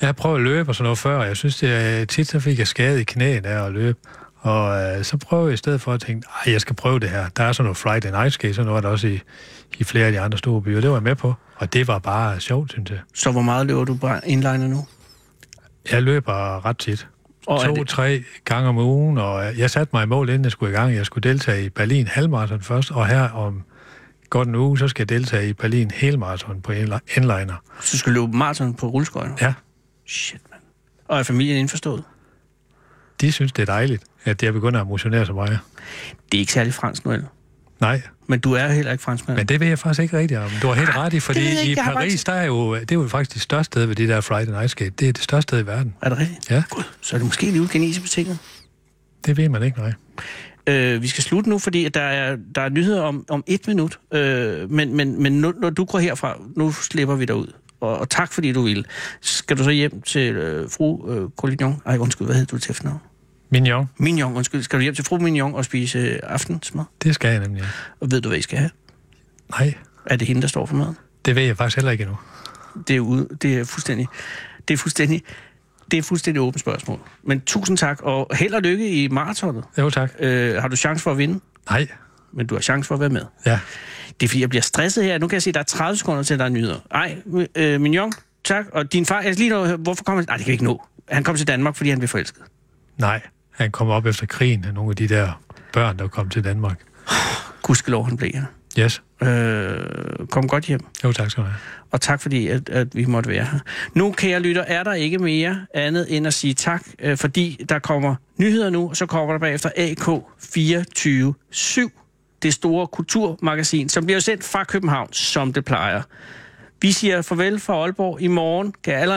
Jeg har prøvet at løbe og sådan noget før, og jeg synes, det er, tit så fik jeg skade i knæet af at løbe. Og øh, så prøver jeg i stedet for at tænke, at jeg skal prøve det her. Der er sådan noget Friday Night Skate, sådan noget er der også i, i flere af de andre store byer. Det var jeg med på, og det var bare sjovt, synes jeg. Så hvor meget løber du på inliner nu? Jeg løber ret tit. Og er det- To-tre gange om ugen, og jeg satte mig i mål, inden jeg skulle i gang. Jeg skulle deltage i Berlin halvmarathon først, og her om godt en uge, så skal jeg deltage i Berlin helmarathon på inli- inliner. Så du skal løbe maraton på rulleskøjter? Ja, Shit, mand. Og er familien indforstået? de synes, det er dejligt, at jeg begynder at motionere så meget. Det er ikke særlig fransk, Noel. Nej, Men du er heller ikke franskmand. men det ved jeg faktisk ikke rigtigt om. Du har helt ret i, det ved jeg fordi ikke. i Jeg har bare Paris, ikke- der er jo, det er jo faktisk det største sted ved det der Friday Night Skate. Det er det største sted i verden. Er det rigtigt? Ja, Så er det måske alligevel kinesebetinget. det ved man ikke, nej. Øh, vi skal slutte nu, fordi at der er, der er nyheder om, om et minut. Øh, men men, men nu, når du går herfra, nu slipper vi dig ud. Og, og tak, fordi du ville. Skal du så hjem til øh, fru øh, Collignon? Ej, undskyld, hvad hed du til efternavn? Mignon, Mignon, undskyld. Skal du hjem til fru Mignon og spise øh, aftensmad? det skal jeg nemlig. Og ved du, hvad I skal have? Nej, Er det hende, der står for maden? det ved jeg faktisk heller ikke endnu. Det er, ude, det er fuldstændig... Det er fuldstændig... Det er fuldstændig åbent spørgsmål. Men tusind tak, og held og lykke i maratonet. Jo, tak. Øh, har du chance for at vinde? Nej, men du har chance for at være med. Ja. Det er fordi, jeg bliver stresset her. Nu kan jeg se, at der er 30 sekunder til, at der er nyheder. Ej, øh, mignon, tak. Og din far, jeg skal lige nå, at høre, hvorfor kom han? Nej, det kan vi ikke nå. Han kom til Danmark, fordi han blev forelsket. Nej, han kom op efter krigen af nogle af de der børn, der kom til Danmark. Gudskelov, han blev her. Yes. Øh, kom godt hjem. Jo, tak skal du have. Og tak fordi, at, at vi måtte være her. Nu, kære lytter, er der ikke mere andet end at sige tak, øh, fordi der kommer nyheder nu, og så kommer der bagefter AK247, det store kulturmagasin, som bliver sendt fra København, som det plejer. Vi siger farvel fra Aalborg i morgen. Kan alle